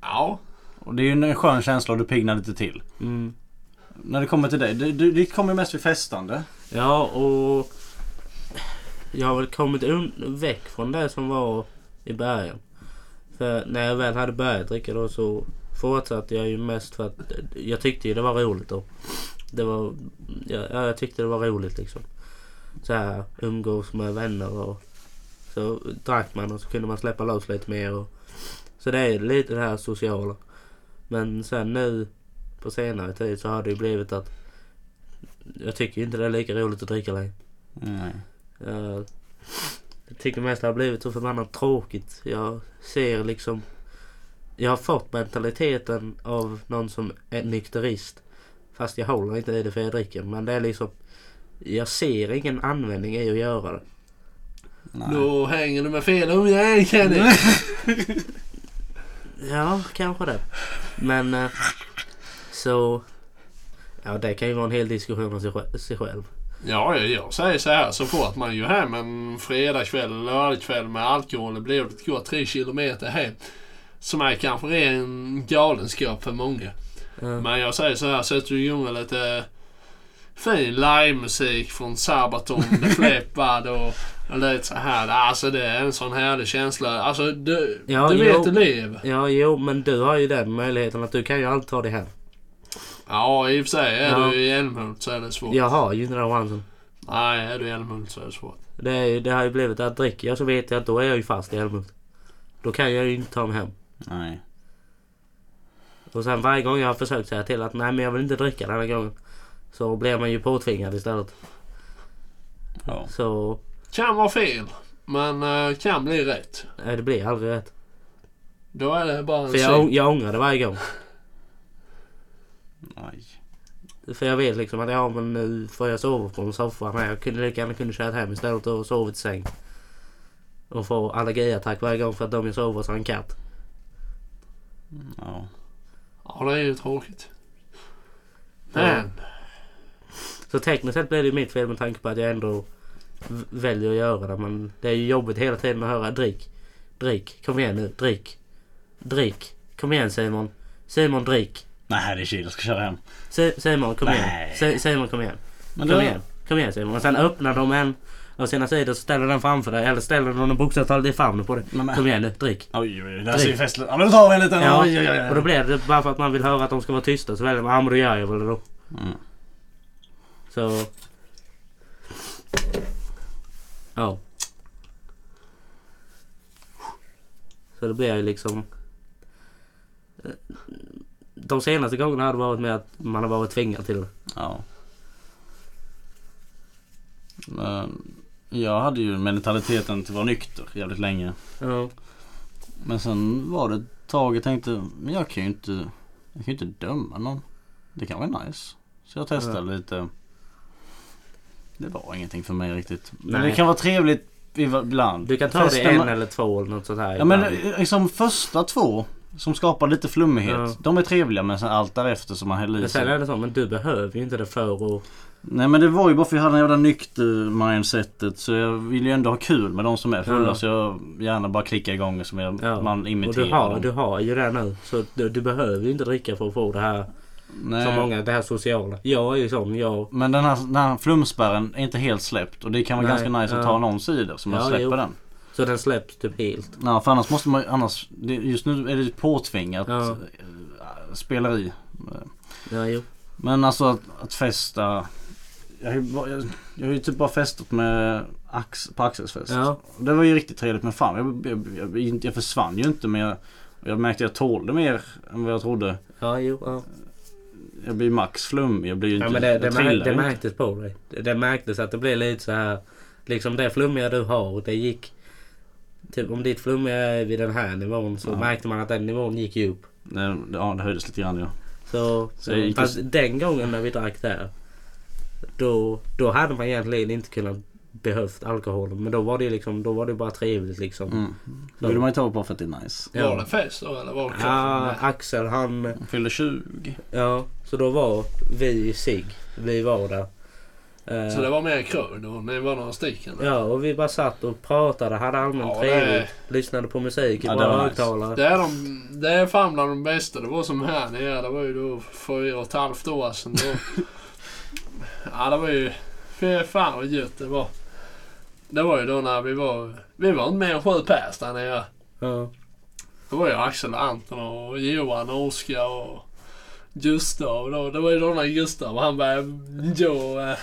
Ja.
Och det är ju en skön känsla och du piggnar lite till.
Mm.
När det kommer till dig, det, det, det kommer ju mest vid festande.
Ja, och... Jag har väl kommit un- väck från det som var i början. För när jag väl hade börjat dricka då så fortsatte jag ju mest för att jag tyckte ju det var roligt då. Det var... Ja, ja, jag tyckte det var roligt liksom. Så här, umgås med vänner och... Så drack man och så kunde man släppa loss lite mer och... Så det är lite det här sociala. Men sen nu på senare tid så har det ju blivit att jag tycker ju inte det är lika roligt att dricka längre.
Nej.
Jag, Eh, jag tycker mest det har blivit så förbannat tråkigt. Jag ser liksom... Jag har fått mentaliteten av någon som är nykterist. Fast Fast jag håller inte i det för jag dricker. Men det är liksom... Jag ser ingen användning i att göra det.
Nej.
Då hänger du med fel umgäng Kenny.
Ja, kanske det. Men... eh, Så... Ja, det kan ju vara en hel diskussion om sig sj- sig själv.
Ja, jag- jag säger så här. Så fort man ju hem en fredagkväll eller lördagkväll med alkohol och blir det går tre kilometer hem. Som är kanske en galenskap för många.
Ja.
Men jag säger så här. Sätter du igång med lite fin livemusik från Sabaton, The Flippard och och lite så här. Alltså det är en sån härlig känsla. Alltså du,
Ja,
du
jo.
vet du lever.
Ja, jo, men du har ju den möjligheten att du kan ju alltid ta dig hem.
Ja, i och för sig. Är
Ja.
du i Älmhult så är det svårt.
Jag har ju inte den chansen.
Nej, är du i Älmhult så är det svårt.
Det, är, ju- det har ju blivit att dricker jag så vet jag att då är jag ju fast i Älmhult. Då kan jag ju inte ta mig hem.
Nej.
Och sen varje gång jag har försökt säga till att nej men jag vill inte dricka den här gången. Så blir man ju påtvingad istället.
Ja.
Så
Kan vara fel, men eh, kan bli rätt.
eh, det blir aldrig rätt.
Då är det bara en
För jag,
syn.
ång- jag ångrar det varje gång.
Nej.
För jag vet liksom att ja men nu får jag sova på en soffa men jag kunde lika gärna kunde köra hem istället och sovit i säng. Och få allergiattack varje gång för att de jag sover så har en katt.
Ja.
Ja, det är ju tråkigt.
Ja.
Men,
Så tekniskt sett blir det ju mitt fel med tanke på att jag ändå v- väljer att göra det. Men det är ju jobbigt hela tiden att höra drick, drick, kom igen nu, drick, drick, kom igen Simon, Simon drick,
Nej, det är chill. Jag ska köra hem.
Si- Simon kom igen,
Nej.
Si- Simon kom igen,
Men
kom
du-
igen, kom igen Simon. Och sen öppnar de en av sina sidor så ställer den framför dig, eller ställer de en bokstavstal i famnen på dig.
Men- men-
Kom igen nu, drick.
Oj, oj, oj. Där ser ju festen Ja, men då tar vi en liten.
Ja,
Oj, oj, oj.
och då blir det bara för att man vill höra att de ska vara tysta så väljer man, ja men då gör jag väl det då.
Mm.
Så... Ja. Så det blir ju liksom... eh, De senaste gångerna har det varit med att man har varit tvingad till det.
Ja. Men jag hade ju mentaliteten till att vara nykter jävligt länge.
Ja.
Men sen var det ett tag jag tänkte, men jag kan ju inte, jag kan ju inte döma någon. Det kan vara nice. Så jag testade lite. Det var ingenting för mig riktigt. Men
Nej.
det kan vara trevligt ibland.
Du kan ta det
Festen-
en eller två eller något sånt här.
Ja men
ibland.
eh, liksom första två som skapar lite flummighet.
Ja.
De är trevliga men sen allt därefter som man häller i
men sen
sig.
är det så, men du behöver ju inte det för att...
Nej men det var ju bara för jag hade det jävla nykter-mindsetet så jag vill ju ändå ha kul med de som är fulla
Ja.
så jag gärna bara klickar igång som jag,
Ja.
man
Och
imiterar
du har,
dem.
du har ju det nu. Så du, du behöver ju inte dricka för att få det här,
Nej.
som många, det här sociala. Jag är ju sån, jag
Men den här, den här flumspärren är inte helt släppt och det kan vara
Nej,
ganska nice att
ja.
ta någon sida så man
Ja,
släpper
jo.
den.
Så den släpps typ helt.
Ja, för annars måste man annars, det, just nu är det påtvingat
Ja.
ja. speleri.
Ja, jo.
Men alltså att, att festa. Jag har, ju, bara- jag, jag har ju typ bara festat med ax, på Axels fest.
Ja.
Det var ju riktigt trevligt men fan jag, jag, jag, jag, jag försvann ju inte men jag, jag märkte att jag tålde mer än vad jag trodde.
Ja, jo. Ja.
Jag blir max flum. Jag blir ju inte...
Ja, men det,
jag
det,
trillar
mär,
ju
det
inte.
märktes på dig. Det, det märktes att det blev lite så här. Liksom det flummiga du har, det gick... Typ om ditt flummiga är vid den här nivån så
Ja.
märkte man att den nivån gick ju upp.
det, ja, det höjdes lite grann ja.
Så,
Så det gick
fast
ju-
den gången när vi drack där. Då, då hade man egentligen inte kunnat behövt alkohol. Men då var det ju liksom, då var det bara trevligt liksom.
Mm. Då vill man ju ta bara för att det är nice.
Ja.
var det fest då eller var det
Ja,
kaffe?
Axel han...
Jag fyllde 20.
Ja, så då var vi i SIG. Vi var där. Eh,
Så det var mer krög då? Ni var några stycken?
Ja, och vi bara satt och pratade, hade allmänt
Ja, det-
trevligt, lyssnade på musik i
Ja, det
våra
var nice.
högtalare.
Det är, de, det är fan bland de bästa. Det var som här nere. Det var ju då fyra och ett halvt år sedan. Då. ja, det var ju... Fy fan vad gött det var. Det var ju då när vi var... Vi var inte mer än sju pers där nere.
Ja,
Det var ju Axel och Anton och Johan och Oskar och Gustav. Då. Det var ju då när Gustav han började... Jo, eh,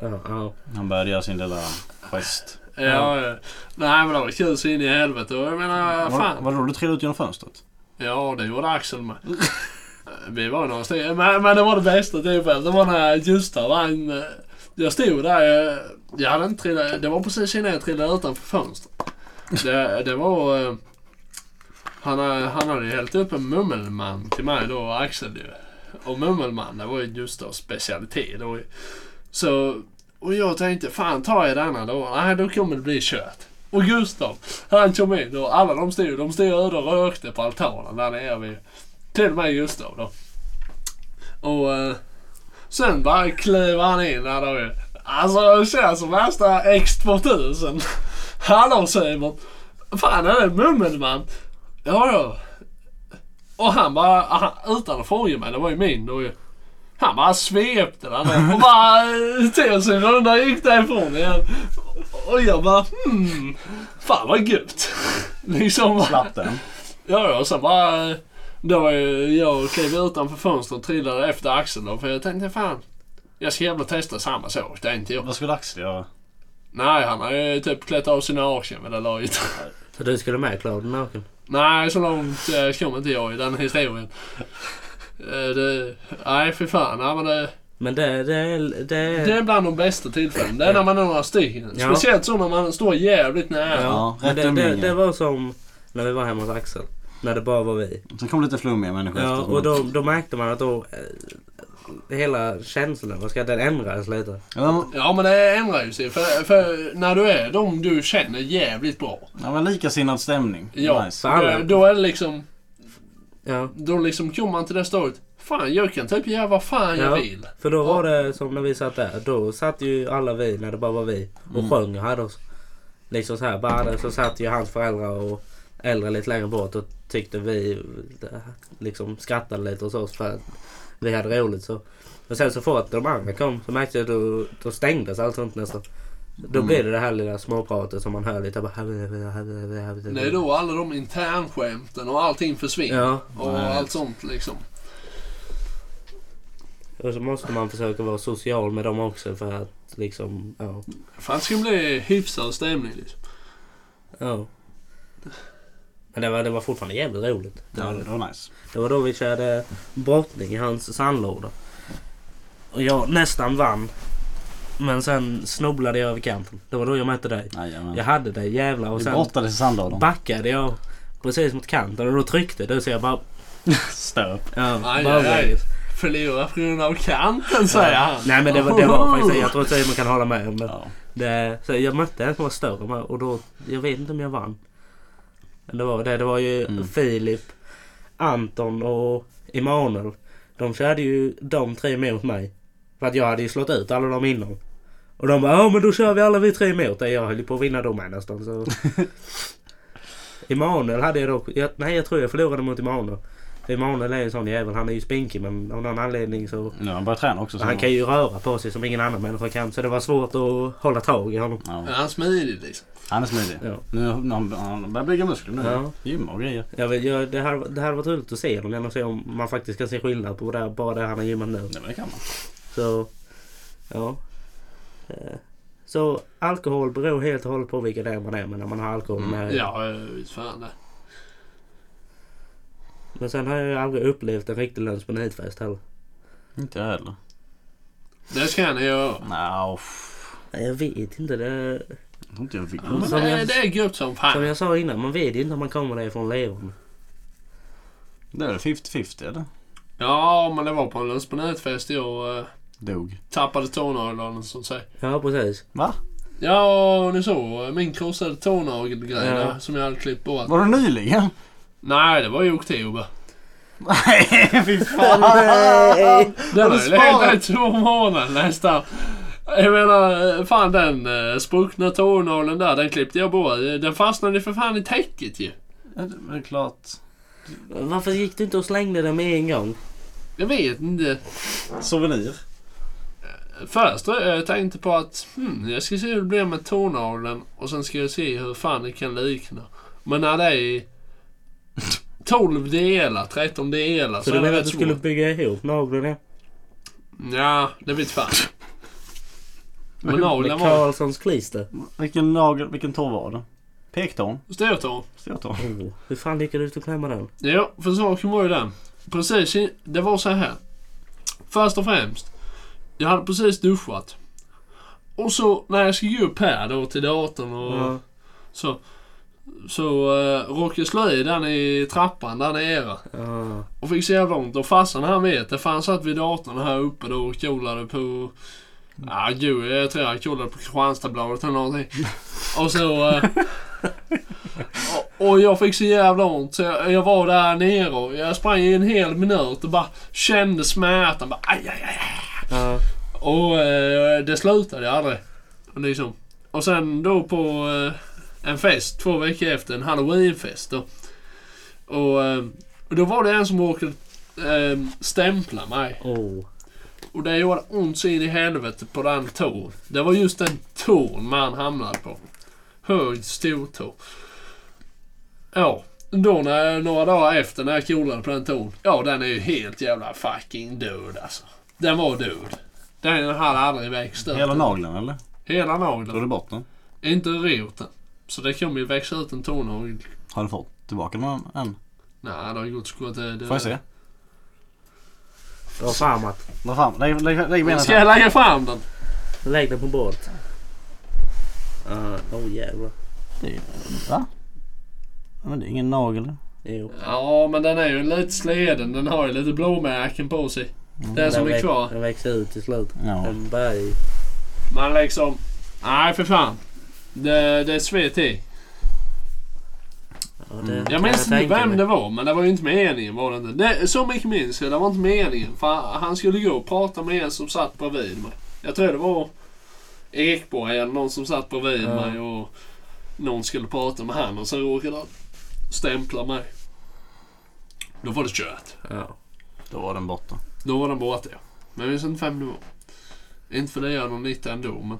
ja, ja.
Han började göra sin lilla gest.
ja, ja. Nej men det var kul så in i helvete. Och jag menar,
Var,
fan.
var det då du trillade ut genom fönstret?
Ja, det gjorde Axel med. Vi var ju några stycken. Men, men det var det bästa typ. Det var när Gustav han... eh, Jag stod där. Jag, jag hade inte trillat. Det var precis innan jag trillade utanför fönstret. Det, det var... eh, Han, eh, han hade ju hällt upp en mummelman till mig då, Axel ju. och mummelman. Det var ju Gustavs specialitet. Och, så, och jag tänkte, fan tar jag denna då? Nej, då kommer det bli kött. Och Gustav, han kom in och alla de stod, de stod öde och rökte på altanen där nere vid, till och med Gustav då. Och eh, sen bara klev han in där då ju. Alltså det känns som värsta X2000. Hallå Simon! Fan är det Mummelman? Ja, ja. Och han bara, han, utan att fråga mig, det var ju min då ju. Han bara svepte den där och bara eh, tog sin runda och gick därifrån igen. Och jag bara hmm, fan vad gött. Liksom bara.
Slapp den.
Ja, ja, och sen bara... eh, Då var ju jag klev utanför fönstret och trillade efter axeln då, för jag tänkte fan. Jag ska jävla testa samma sak, det är inte jag.
Vad skulle Axel göra?
Nej, han har ju typ klätt av sina arslen vid det laget.
Så du skulle med Claude naken?
Nej, så långt eh, kom inte jag i den historien. Eh, Det, nej, för fan. Nej, men det,
Men det, det, det,
det är bland de bästa tillfällena. Det är när man är några stycken.
Ja.
Speciellt så när man står jävligt nära.
Ja,
men
rätt
det, det,
umgänge.
det var som när vi var hemma hos Axel. När det bara var vi.
Sen kom lite flummiga människor
Ja,
efteråt.
och då, då märkte man att då... eh, Hela känslan, vad ska jag- den ändrades lite.
Ja,
Ja, men det ändrar ju sig. För, för när du är de du känner jävligt bra.
det var likasinnad stämning.
Ja,
Nice.
för alla.
Då, då är det liksom...
Ja.
Då liksom kommer man till det stadiet. Fan, jag kan typ göra vad fan jag
Ja.
vill.
För då var det som när vi satt där. Då satt ju alla vi när det bara var vi och sjöng och hade oss. Liksom så här. Bara där så satt ju hans föräldrar och äldre lite längre bort och tyckte vi eh, liksom skrattade lite hos oss för att vi hade roligt så. Men sen så fort de andra kom så märkte jag att då, då stängdes allt sånt nästan. Då blev det det här lilla småpratet som man hör lite bara...
Det är då alla de internskämten och allting försvinner.
Ja,
Och
Nej.
allt sånt liksom.
och så måste man försöka vara social med dem också för att liksom... Ja.
Fan, det ska bli hyfsad stämning liksom.
Ja. Men det var, det var fortfarande jävligt roligt. Det
Ja,
var,
det var nice.
det var då vi körde brottning i hans sandlåda. Och jag nästan vann. Men sen snubblade jag över kanten. Det var då jag mötte dig.
Jajamän.
Jag hade dig jävlar och
Vi
sen
brottades i sandlådan.
backade jag precis mot kanten och då tryckte du så jag bara...
Stöp.
Ja,
Aj,
bara
aj, aj.
vägen.
Förlora på grund av kanten, säger han.
Nej men det var, det var faktiskt, jag tror inte man kan hålla med om det.
Ja.
Det, så jag mötte en som var större med- och då, jag vet inte om jag vann. Men det var det. Det var ju
Mm.
Filip, Anton och Emanuel. De körde ju de tre mot mig. För att jag hade ju slått ut alla de innan. Och de bara ja men då kör vi alla vi tre mot dig. Jag höll ju på att vinna dem här nästan. Så. Emanuel hade jag dock. Jag, nej jag tror jag förlorade mot Emanuel. För Emanuel är ju en sån jävel. Han är ju spinkig men av någon anledning så.
Nu har han börjat träna också. så-
Han kan ju röra på sig som ingen annan människa kan. Så det var svårt att hålla tag i honom.
Ja.
Är han smidig liksom?
Han är smidig.
Ja.
Nu, han, han börjar bygga muskler nu.
Ja.
Gymma och grejer.
Jag vet, jag, det, här, det här var roligt att se honom genom att se om man faktiskt kan se skillnad på det, bara det han har gymmat nu.
Nej, men det kan man.
Så, ja. Eh, Så alkohol beror helt och hållet på vilka det är man är med när man har alkohol
Mm.
med.
Ja, eh, visst fan det.
Men sen har jag ju aldrig upplevt en riktig lunch på nitfest heller.
Inte jag heller.
Det ska ni göra.
Nej, uff.
Nej, Jag vet inte. Det,
Jag tror inte jag vill.
Men
Som
det,
jag-
det är gött som
som
fan.
jag sa innan, man vet ju inte om man kommer därifrån levande.
Det är väl 50-50 eller?
Ja, men det var på en lunchpanelfest jag eh,
Dog.
tappade tånaglarna som säger.
Ja, precis.
Va?
Ja, och ni såg eh, min krossade tånagelgrej
Ja.
där som jag hade klippt bort.
Var det nyligen?
Nej, det var i oktober.
Nej, fy fan.
Nej!
Det
Har
var
du
ju lite
sparat?
i två månader nästan. Jag menar, eh, fan den eh, spruckna tånaglen där, den klippte jag bort. Eh, Den fastnade för fan i täcket ju.
Ja, Det är klart.
Varför gick du inte och slängde den med en gång?
Jag vet inte.
Souvenir.
Först eh, jag tänkte på att hmm, jag ska se hur det blir med tånageln och sen ska jag se hur fan det kan likna. Men när det är 12 delar, 13 delar
Så
så,
du
är det
menar att
rätt
du skulle
svårt.
bygga ihop naglarna?
Ja, det vet fan. Men
Med
nageln var
Karlssons klister?
Vilken nagel, vilken tå var det? Pektån?
störtån.
Stortå?
Mm.
Oh, hur fan lyckades du klämma den?
Ja, för saken var ju den. Precis, i- det var så här. Först och främst, jag hade precis duschat. Och så när jag ska gå upp här då till datorn och
Ja.
så. Så eh, råkade slå i den i trappan där nere.
Ja.
Och fick så jävla ont. Och farsan han vet det. för han satt vid datorn här uppe då och kollade på... Ja, gud. Jag tror han kollade på Kristianstadsbladet eller någonting. Och så... eh, och, och jag fick så jävla ont. Så jag, jag var där nere och jag sprang i en hel minut och bara kände smärtan. Bara, aj, aj, aj.
Ja.
Och eh, det slutade aldrig. Och Liksom. Och sen då på eh, en fest två veckor efter, en halloweenfest då. Och, eh, och då var det en som råkade eh, stämpla mig.
Oh.
Och det gjorde ont så in i helvete på den tån. Det var just den tån man hamnade på. Hög stortå. Ja, då när, några dagar efter när jag kolade på den tån. Ja, den är ju helt jävla fucking död alltså. Den var död. Den hade aldrig växt upp.
Hela nageln eller?
Hela
Drog
nageln.
du bort den?
Inte roten. Så det kommer ju växa ut en tånagel.
Har du fått tillbaka någon än?
Nej, det har ju gått så gott. det- det-
Får jag se?
Dra framåt.
Dra fram. Lägg, lägg, lägg benen
Ska
fram.
jag lägga fram den?
Lägg den på bordet. Ja, oh jävlar.
Det är- Va? Ja, Men det är ingen nagel.
Jo.
Ja, men den är ju lite sleden. Den har ju lite blåmärken på sig. Den som
Den
är
väx-
kvar.
Den växer ut till slut.
Ja.
Den börjar ju.
Men liksom... Nej, för fan. Det, det svet i.
Ja, det kan
Jag minns inte
tänka
vem
mig.
det var, men det var ju inte meningen var det inte. Det, så mycket minns jag. Det var inte meningen. För han, han skulle gå och prata med en som satt bredvid mig. Jag tror det var Ekborg eller någon som satt bredvid
Ja.
mig och någon skulle prata med han och sen råkade han stämpla mig. Då var det kört.
Ja.
Då var den borta.
Då var den borta ja. Men jag minns inte vem det var. Inte för det gör någon nytta ändå, men...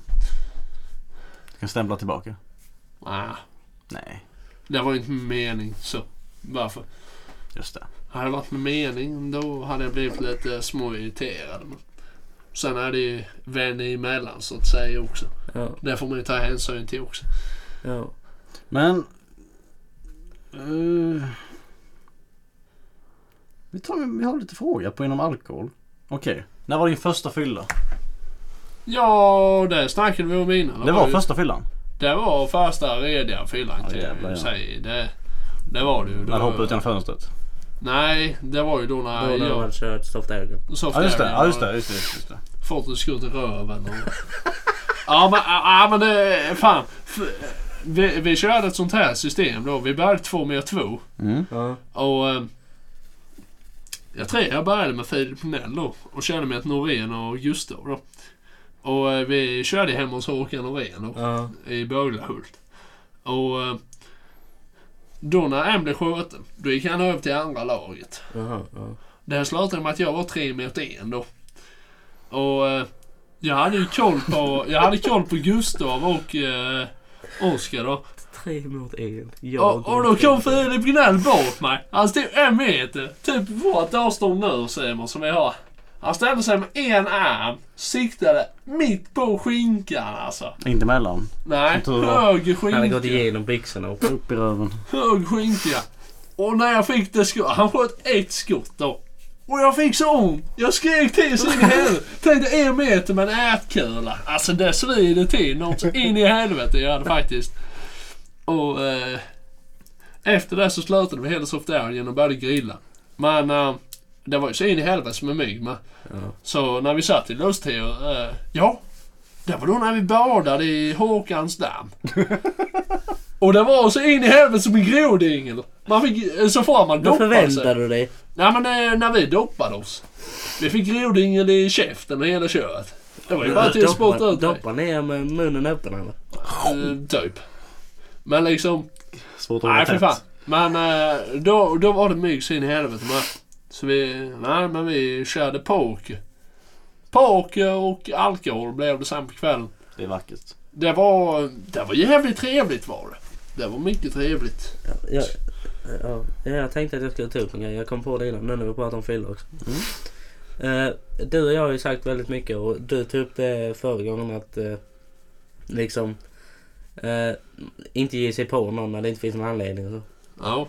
Du kan stämpla tillbaka.
Nej,
Nej,
det var ju inte med mening så. Varför?
just det.
Hade det varit med mening då hade jag blivit lite småirriterad. Men sen är det ju vänner emellan så att säga också.
Ja.
Det får man ju ta hänsyn till också.
Ja.
Men... eh, vi, tar, vi har lite fråga på inom alkohol. Okej. När var din första fylla?
Ja, det snackade vi om innan.
Det var
ju-
första fyllan.
Det var första rediga fyllan
Ja,
kan
jävlar, ja.
jag ju säga. Det, det var det ju.
När du hoppade ut genom fönstret.
Nej, det var ju då
Då
när
har
jag...
man kört soft alcohol.
så
Ja just det,
flera
ja just
gånger
det, just det, just det.
Fått ett skott i röven och... ja men, ja, men det... är- Fan. F- Vi, vi körde ett sånt här system då. Vi började två med två.
Mm.
Ja.
Och... eh, Jag tror jag började med Filip Nell då. Och körde med ett Norén och Gustav då. Och eh, vi körde hemma hos Håkan Norén då
Ja.
i Bölahult. Och... eh, Då när en blev skjuten, då gick han över till andra laget.
Jaha. Ja.
Det här slutade med att jag var tre meter en då. Och eh, jag hade ju koll på, jag hade koll på Gustav och eh, Oskar då.
Tre mot en. Jag
Och, och då kom Filip Gnell bort mig. Han stod en meter, typ vårt avstånd nu Simon som vi har. Han ställde sig med en arm, siktade mitt på skinkan alltså.
Inte mellan.
Nej,
Som tur var.
höger
Han hade gått
skinka.
igenom byxorna och...
Upp i röven.
Hög skinka. Och när jag fick det skott, han sköt ett skott då. Och jag fick så ont. Jag skrek till så in i helvete. Tänkte en meter med en ärtkula. Alltså det svider till något så in i helvete gör det faktiskt. Och eh, efter det så slutade vi hela soft Airien och började grilla. Men eh, det var ju så in i helvete med mygg med. Så när vi satt i Lusthyr, eh, ja. Det var då när vi badade i Håkans damm. och det var så in i helvete som en grodyngel. Man fick, eh, så får man
Då
doppa sig.
förväntar du dig.
Nej men eh, när vi doppade oss. Vi fick rodingen i käften och hela köret. Det var ju bara till att spotta
Doppa,
ut mig.
doppa ner med munnen öppen eller?
Eh, Typ. Men liksom,
Svårt att hålla
nej för
tätt.
fan. Men eh, då, då var det mygg så in i helvete med. Så vi, nej men vi körde poker. Poker och alkohol blev det sen på kvällen.
Det är vackert.
Det var, det var jävligt trevligt var det. Det var mycket trevligt.
Jag, ja, ja, jag tänkte att jag skulle ta upp en grej. Jag kom på det innan nu när vi pratar om fylla också. Eh, du och jag har ju sagt väldigt mycket och du tog upp det förra gången att eh, liksom eh, inte ge sig på någon när det inte finns någon anledning. och Så.
Ja.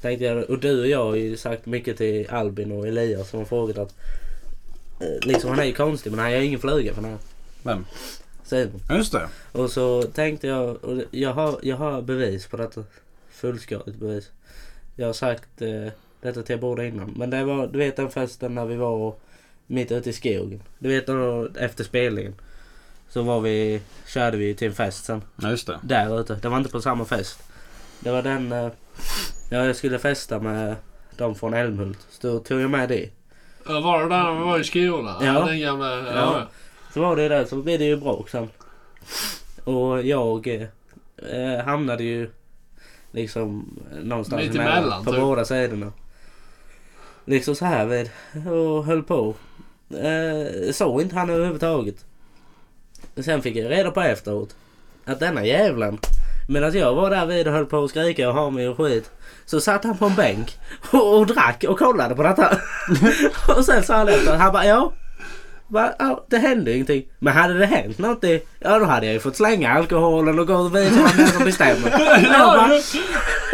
Tänkte jag, och du och jag har ju sagt mycket till Albin och Elias som har frågat att eh, liksom han är ju konstig men han gör ingen fluga för den här
Vem?
Simon.
Ja just det.
Och så tänkte jag, och jag har, jag har bevis på detta. fullskaligt bevis. Jag har sagt eh, detta till er båda innan. Men det var, du vet den festen när vi var mitt ute i skogen. Du vet då, efter spelningen. Så var vi, körde vi till en fest sen.
Ja, just det.
Där ute. Det var inte på samma fest. Det var den... Eh, jag skulle festa med de från Älmhult. Så då tog jag med det.
Ja, Var det där när vi var i Skåla?
Ja.
Den gamla... Ja.
Ja. Så var det där, så blev det ju bråk sen. Och jag eh, eh, hamnade ju liksom någonstans
Mitt emellan,
på
typ.
båda sidorna. Liksom så här vid och höll på. Eh, såg inte han överhuvudtaget. Sen fick jag reda på efteråt att denna jävlen Medan jag var där vid och höll på att skrika och ha mig och skit. Så satt han på en bänk och, och drack och kollade på detta. och sen sa han efter, han bara ja. Va, ja, det hände ju ingenting. Men hade det hänt något i- ja då hade jag ju fått slänga alkoholen och gå vidare till den som bestämmer. Jag bara,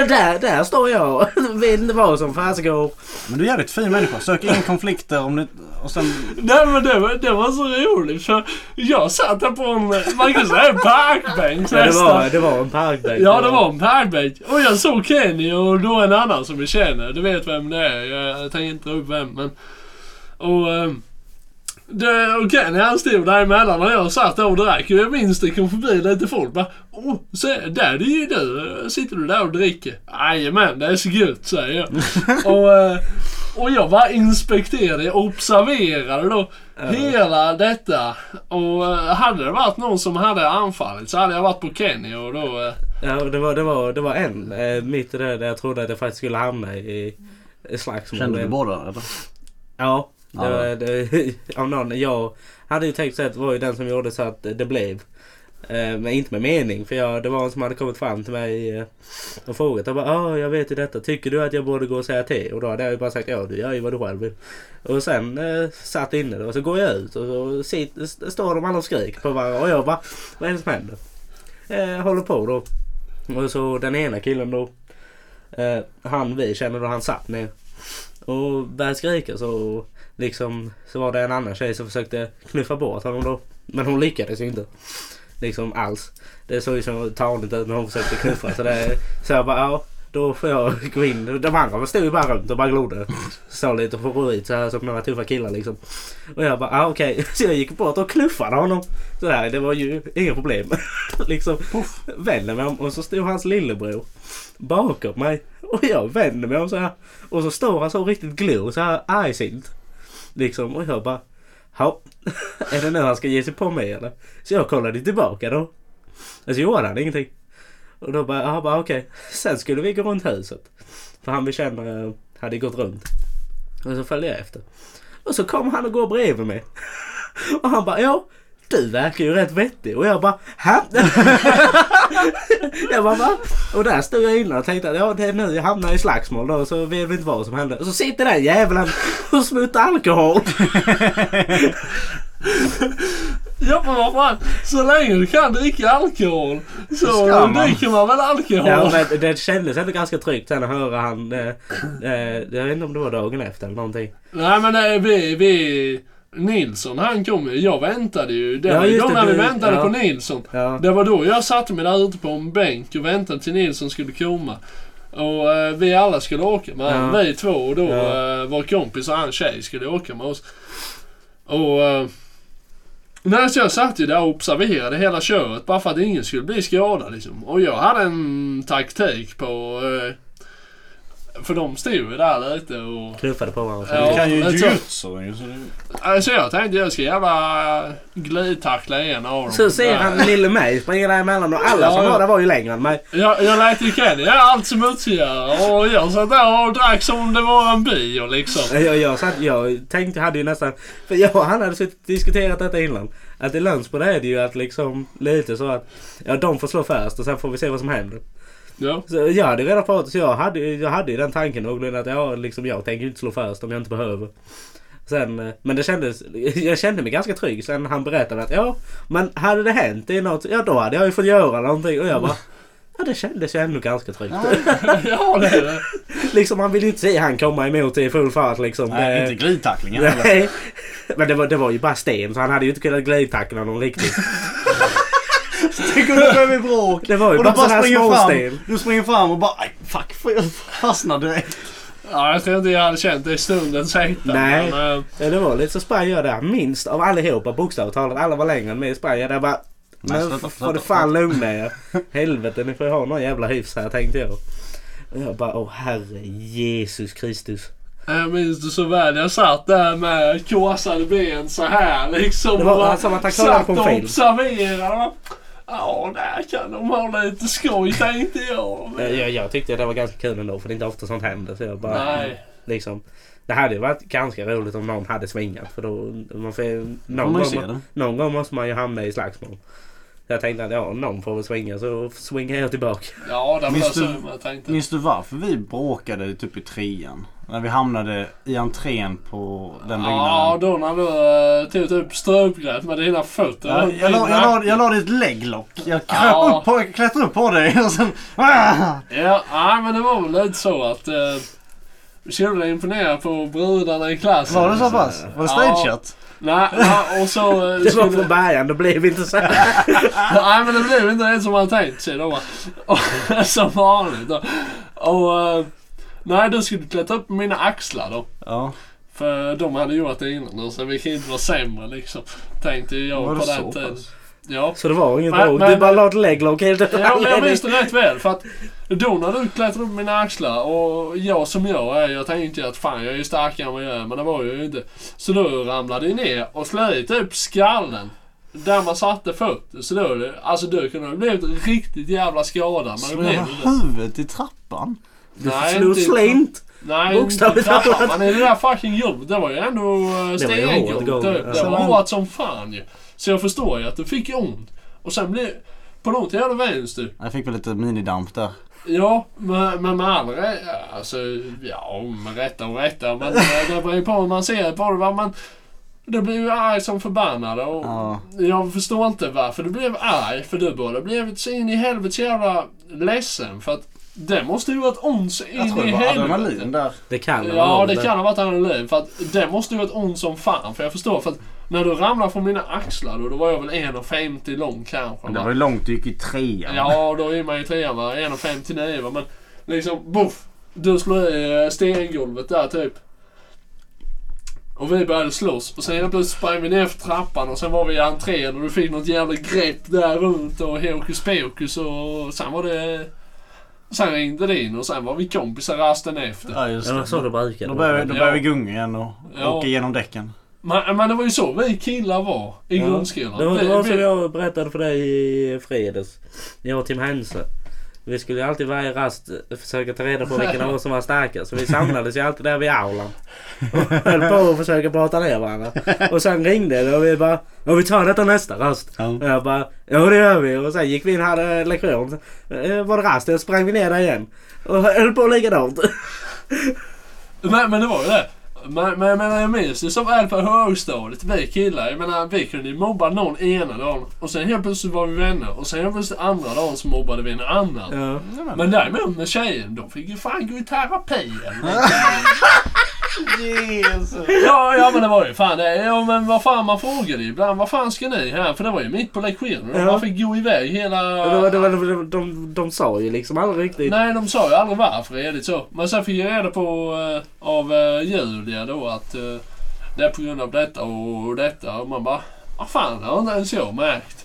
där, där står jag och vet inte vad som försiggår.
Men du är jävligt fin människa. Sök inga konflikter om du... Och sen...
Nej men det var, det var så roligt för jag satt där på en, man kan säga en parkbänk
Ja, det, var,
nästan.
det var en parkbänk.
Ja det var en parkbänk. Och jag såg Kenny och då en annan som jag känner. Du vet vem det är. Jag tänker inte ta upp vem men. Och, ehm, det, och Kenny han stod däremellan och jag satt där och drack. Och jag minns det kom förbi lite folk bara. Åh, så där är det ju du. Sitter du där och dricker? Jajamän, det är så gött säger jag. och, eh, och jag bara inspekterade, jag observerade då hela detta. Och eh, hade det varit någon som hade anfallit så hade jag varit på Kenny och då... eh,
Ja, det var, det var, det var en eh, mitt i det där jag trodde att jag faktiskt skulle hamna i i slagsmål.
Kände du båda eller?
Ja. Det
Ja.
var, det, av någon, jag hade ju tänkt så att det var ju den som gjorde så att det blev. Eh, Men inte med mening för jag, det var en som hade kommit fram till mig eh, och frågat. Jag bara, "Ah, jag vet ju detta. Tycker du att jag borde gå och säga till? Och då hade jag ju bara sagt, ja du gör ju vad du själv vill. Och sen eh, satt inne då, och så går jag ut och så sit, st- står de alla och skriker på varandra. Och jag bara, vad är det som händer? Eh, håller på då. Och så den ena killen då. Eh, han vi känner då, han satt ner. Och började skrika så liksom så var det en annan tjej som försökte knuffa bort honom då. Men hon lyckades ju inte. Liksom alls. Det såg ju så taligt ut när hon försökte knuffa. Så, det, så jag bara ja, då får jag gå in. De andra stod ju bara runt och bara glodde. Stod lite och ut så här som några tuffa killar liksom. Och jag bara ah, okej. Så jag gick bort och knuffade honom. Så där, det var ju inga problem. liksom vände mig om och så stod hans lillebror bakom mig. Och jag vänder mig om så här. Och så står han så riktigt glor så här argsint. Liksom och jag bara Ja, är det nu han ska ge sig på mig eller? Så jag kollade tillbaka då. Och så gjorde han ingenting. Och då bara, jag bara okej. Sen skulle vi gå runt huset. För han vi känner eh, hade gått runt. Och så följde jag efter. Och så kom han och går bredvid mig. Och han bara, ja du verkar ju rätt vettig. Och jag bara, hä? jag bara, va? Och där stod jag innan och tänkte att ja, det är nu jag hamnar i slagsmål då så vet vi inte vad som hände. Och så sitter den jäveln och smutar alkohol.
Ja men vad fan, så länge du kan dricka alkohol så
Ska man.
dricker man väl alkohol?
Ja, men det kändes ändå ganska tryggt sen att höra han, eh, eh, jag vet inte om det var dagen efter eller någonting.
Nej men nej, vi, vi... Nilsson han kom ju, jag väntade ju. Det
Ja,
var ju
just
då
det,
när vi
du-
väntade
ja.
på Nilsson.
Ja.
Det var då jag satte mig där ute på en bänk och väntade till Nilsson skulle komma. Och eh, vi alla skulle åka med honom,
Ja.
vi två och då
Ja.
eh, vår kompis och hans tjej skulle åka med oss. Och... Eh, nej, så jag satt ju där och observerade hela köret bara för att ingen skulle bli skadad liksom. Och jag hade en taktik på... Eh, för de stod ju där lite och...
Knuffade på varandra.
Ja,
du kan ju
jag tror-
jujutsu ju, så det-
Alltså jag tänkte jag ska jävla glidtackla en av dem.
Så ser han lille mig springa däremellan och alla som
Ja.
var där var ju längre än mig.
Jag, jag lät ju Kenny göra allt smutsigare och jag satt där och drack som det var en bio liksom.
Jag, jag, satt, jag tänkte, hade ju nästan, för jag och han hade suttit och diskuterat detta innan. Att i Lönsboda är det ju att liksom lite så att, ja de får slå först och sen får vi se vad som händer.
Ja.
Så jag hade redan pratat så jag hade, jag hade ju den tanken någorlunda att jag, liksom, jag tänker inte slå först om jag inte behöver. Sen, eh, men det kändes, jag kände mig ganska trygg sen han berättade att ja, men hade det hänt i något, ja då hade jag ju fått göra någonting och jag bara Ja det kändes ju ändå ganska tryggt.
ja, det är det.
Liksom man vill ju inte se han komma emot i full fart liksom.
Nej,
Det-
inte glidtacklingen heller.
Nej. Men det var, det var ju bara sten så han hade ju inte kunnat glidtackla någon riktigt.
Tänk om du behöver bråk.
Det var ju
Och
bara
du
sån här
fram,
småstil.
du springer fram och bara "Aj, fuck, får jag fastnar direkt.
Ja, jag tror inte jag hade känt det i stunden säkert.
Nej.
Men, eh,
Ja, det var lite så sprang jag där minst av allihopa bokstavligt talat. Alla var längre än mig. Sprang jag där bara.
Nej,
Men
sluta,
får du
sluta,
fan lugna er. Helvete ni får ju ha någon jävla hyfs här tänkte jag. Och jag bara åh herre Jesus Kristus.
jag minns det så väl. Jag satt där med korsade ben så här liksom.
Det var-
och bara
han
alltså,
sa att han kollade
satt
på en
och
film.
observerade. Ja, där kan de ha lite skoj tänkte jag.
Eh,
Men,
Jag, jag tyckte det var ganska kul ändå för det är inte ofta sånt händer. Så jag bara,
nej.
Liksom, det hade ju varit ganska roligt om någon hade svingat. För då, man får, ju-
man
någon,
ju
gång,
se
må-
det.
någon gång måste man ju hamna i slagsmål. Jag tänkte att ja, någon får väl svinga så swingar jag tillbaka.
Ja, det var
Minns
så
du-
jag tänkte.
Minns du varför vi bråkade typ i trean? När vi hamnade i entrén på den
Ja,
byggnaden.
då när du eh, tog typ strupgrepp med dina fötter.
Ja,
runt
jag, la,
din
jag, la,
nacke.
jag la dig ett lägglock. Jag kröp
Ja.
upp på, jag klättrade upp på dig och sen... Ah!
Ja, nej, men det var väl lite så att eh, vi skulle imponera på brudarna i klassen.
Var det så pass? Var det stageat?
Nej, nej, och så... eh,
Det var
skulle-
från början, då blev vi inte så här.
Nej men det blev inte det som man tänkt sig då. Och- Som vanligt då. Och... eh, Nej, du skulle klättra upp på mina axlar då.
Ja.
För de hade gjort det innan då, så vi kan inte vara sämre liksom. Tänkte jag
Var det
på den
så
tiden.
pass?
Ja.
Så det var inget
Men-
bråk.
men-
Du bara la ett leglock helt
Ja, men jag minns
utan
det rätt väl. För att då när du klättrade upp mina axlar och jag som jag är, jag tänkte att fan jag är ju starkare än vad jag är, men det var jag ju inte. Så då ramlade jag ner och slog i typ skallen. Där man satte foten. Så då, alltså du kunde ha blivit riktigt jävla skadad. Men det
Slog
blev
jag
inte.
huvudet i trappan?
Du
Nej,
slog
inte-
slint.
Nej,
Bokstavligt
inte-
talat.
Men i det där fucking jobbet, det var ju ändå eh,
Det var ju hårt
stenjobb.
gång,
Det,
ja.
det var hårt som fan ju. Så jag förstår ju att det fick ju ont. Och sen blev... På något jävla vänster
Jag fick väl lite minidamp där.
Ja, men, men med all rätt, alltså, ja, med rätta och rätta, men det, det beror ju på hur man ser på det. va, Men du blev ju arg som förbannad och
Ja.
jag förstår inte varför du blev arg, för du borde blivit så in i helvete jävla ledsen, för att det måste ju varit ont så in i helvete.
där.
Det kan
Ja, det kan ha varit adrenalin, för att det måste ju varit ont som fan, för jag förstår, för att när du ramlade från mina axlar då, då var jag väl 1,50 lång kanske.
Men det
va.
var ju långt du gick i trean.
Ja, då är man ju trea va. 1,59 va. Men liksom, boff! Du slår i eh, stengolvet där typ. Och vi började slåss. Och sen helt plötsligt sprang vi ner för trappan och sen var vi i entrén och du fick något jävla grepp där runt och hokus pokus och sen var det... Sen ringde det in och sen var vi kompisar rasten efter.
Ja, just
Det var så det
det.
brukade
Då
vara.
började, då
Ja.
började vi gunga igen och
Ja.
åka igenom däcken.
Men, men det var ju så vi killar var i
Ja.
grundskolan.
Det var, det
Vi-
var
vi-
som jag berättade för dig i fredags. Jag och Tim Hense. Vi skulle ju alltid varje rast försöka ta reda på vilken av oss som var starkast. Så vi samlades ju alltid där vid aulan. Och höll på att försöka prata ner varandra. Och sen ringde det och vi bara Ja vi tar detta nästa rast.
Ja.
Och jag bara Ja det gör vi. Och sen gick vi in och hade lektion. Eh, Var det rast? Då sprang vi ner där igen. Och höll på likadant.
Men, men det var ju det. Men, men, men jag minns det som väl på högstadiet, vi killar. Jag menar, vi kunde ju mobba någon ena dagen och sen helt plötsligt var vi vänner. Och sen helt plötsligt andra dagen så mobbade vi en annan.
Ja.
Men däremot med tjejen, de fick ju fan gå i terapi eller något.
Jesus.
Ja, ja men det var ju fan det. Ja men vad fan man frågade ju ibland. Vad fan ska ni här? För det var ju mitt på lektionen. och
Ja.
Man fick gå iväg hela...
Det var, det var, det var, de, de sa ju liksom aldrig riktigt.
Nej, de sa ju aldrig varför redigt så. Men sen fick jag reda på eh, av eh, Julia då att eh, det är på grund av detta och detta. Och man bara, vad fan, det har inte ens jag märkt.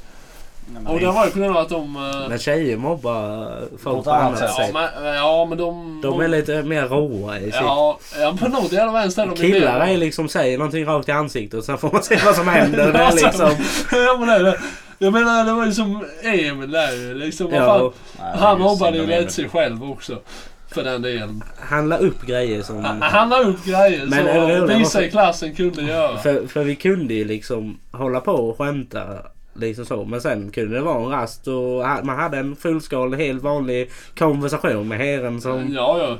Och det var ju på grund av att de... eh,
Men tjejer mobbar
På
folk
ett
på
annat
annat
sätt.
sätt.
Ja men, eh, ja, men de...
De är lite mer råa i sitt.
Ja, ja på något jävla vänster. De
Killar
mer-
är liksom säger någonting rakt i ansiktet och sen får man se vad som händer. Det är
Alltså,
liksom,
ja, men det är det. Jag menar, det var ju som Emil där ju, liksom. Vad
ja,
fan, han mobbade ju lite sig själv också. För den delen.
han la upp grejer som...
Han la upp grejer
Mm. Men är det
som
roligt?
vissa i klassen kunde göra.
För, för vi kunde ju liksom hålla på och skämta. Liksom så. Men sen kunde det vara en rast och ha- man hade en fullskalig helt vanlig konversation med herren som...
Ja, ja.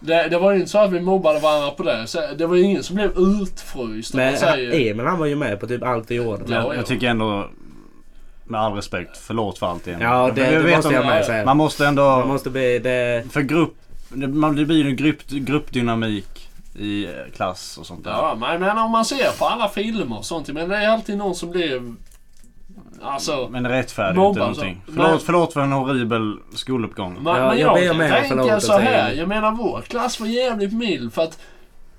Det, det var ju inte så att vi mobbade varandra på det. Så det var ju ingen som blev utfryst. om man
Men han-
säger.
Emil han var ju med på typ allt vi gjorde.
Ja,
Jag, jag tycker ändå, med all respekt, förlåt för allt igen.
Ja, det,
Men vi
det
vet
måste
om-
jag med
ja,
säga.
Man måste ändå...
Man måste bli... Det,
För grupp... det- Man, det blir ju en grupp, gruppdynamik i eh, klass och sånt där.
Ja, men, men om man ser på alla filmer och sånt. Men det är alltid någon som blev Alltså,
Men det rättfärdigar
Mobbar
inte
alltså.
någonting. Förlåt,
Men-
förlåt för en horribel skoluppgång.
Men,
Ja, jag
men jag,
ber om er,
kan
förlåt
tänka
att
så
säga
här.
det.
Jag menar vår klass var jävligt mild för att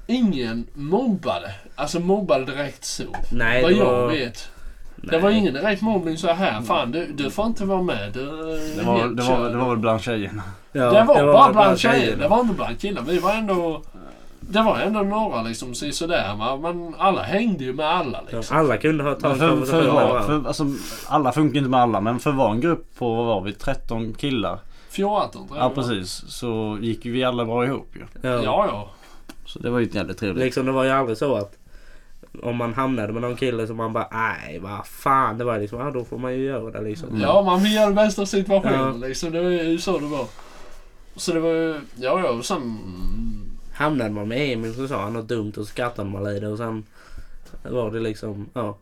ingen mobbade. Alltså mobbade direkt så.
Nej,
vad
det
jag
var-
vet. Det
Nej.
var ingen direkt mobbning så här. Fan du, du får inte vara med. Du, eh,
Det var, det, var, det var väl bland tjejerna.
Ja,
det var bara bland tjejer. Det var inte bland killar. Vi var ändå... Det var ändå några liksom sådär va, men alla hängde ju med alla
Ja,
liksom.
Alla kunde ha
För,
tagit
för,
konversation med
för,
varandra.
för, alltså, alla funkar inte med alla men för var en grupp på, vad var vi, 13 killar?
14 tror jag
Ja
det var.
precis. Så gick ju vi alla bra ihop ju.
Ja,
Ja.
ja.
Så det var ju ett jävligt trevligt.
Liksom det var ju aldrig så att om man hamnade med någon kille som man bara nej vad fan det var liksom ja då får man ju göra det liksom.
Ja, man vill göra det bästa av situationen
Ja.
liksom. Det var ju så det var. Så det var ju... Ja, ja. Och sen...
Hamnade man med Emil så sa han något dumt och så skrattade man lite och sen var det liksom ja.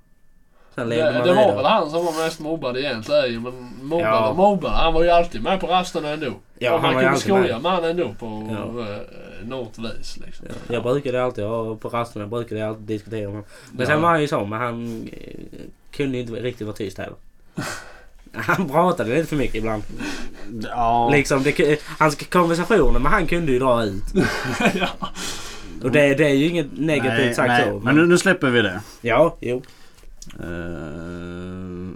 Sen levde
Det,
man
det var väl
vidare.
han som var mest mobbad egentligen. Men mobbad
Ja.
och mobbad. Han var ju alltid med på rasterna ändå.
Ja,
och
han
man
var ju
kunde
alltid
skoja med han ändå på
Ja.
ja. något vis. Liksom.
Ja, Jag brukade alltid ha på rasterna brukade jag alltid diskutera med honom. Men
Ja.
sen var han ju så men han eh, kunde ju inte riktigt vara tyst heller. Han pratade lite för mycket ibland.
Ja.
Liksom, det, ku- hans konversationer men han kunde ju dra ut.
ja.
Och det, det är ju inget negativt
Nej,
sagt
nej.
så.
Men nu, nu släpper vi det.
Ja, jo.
Uh,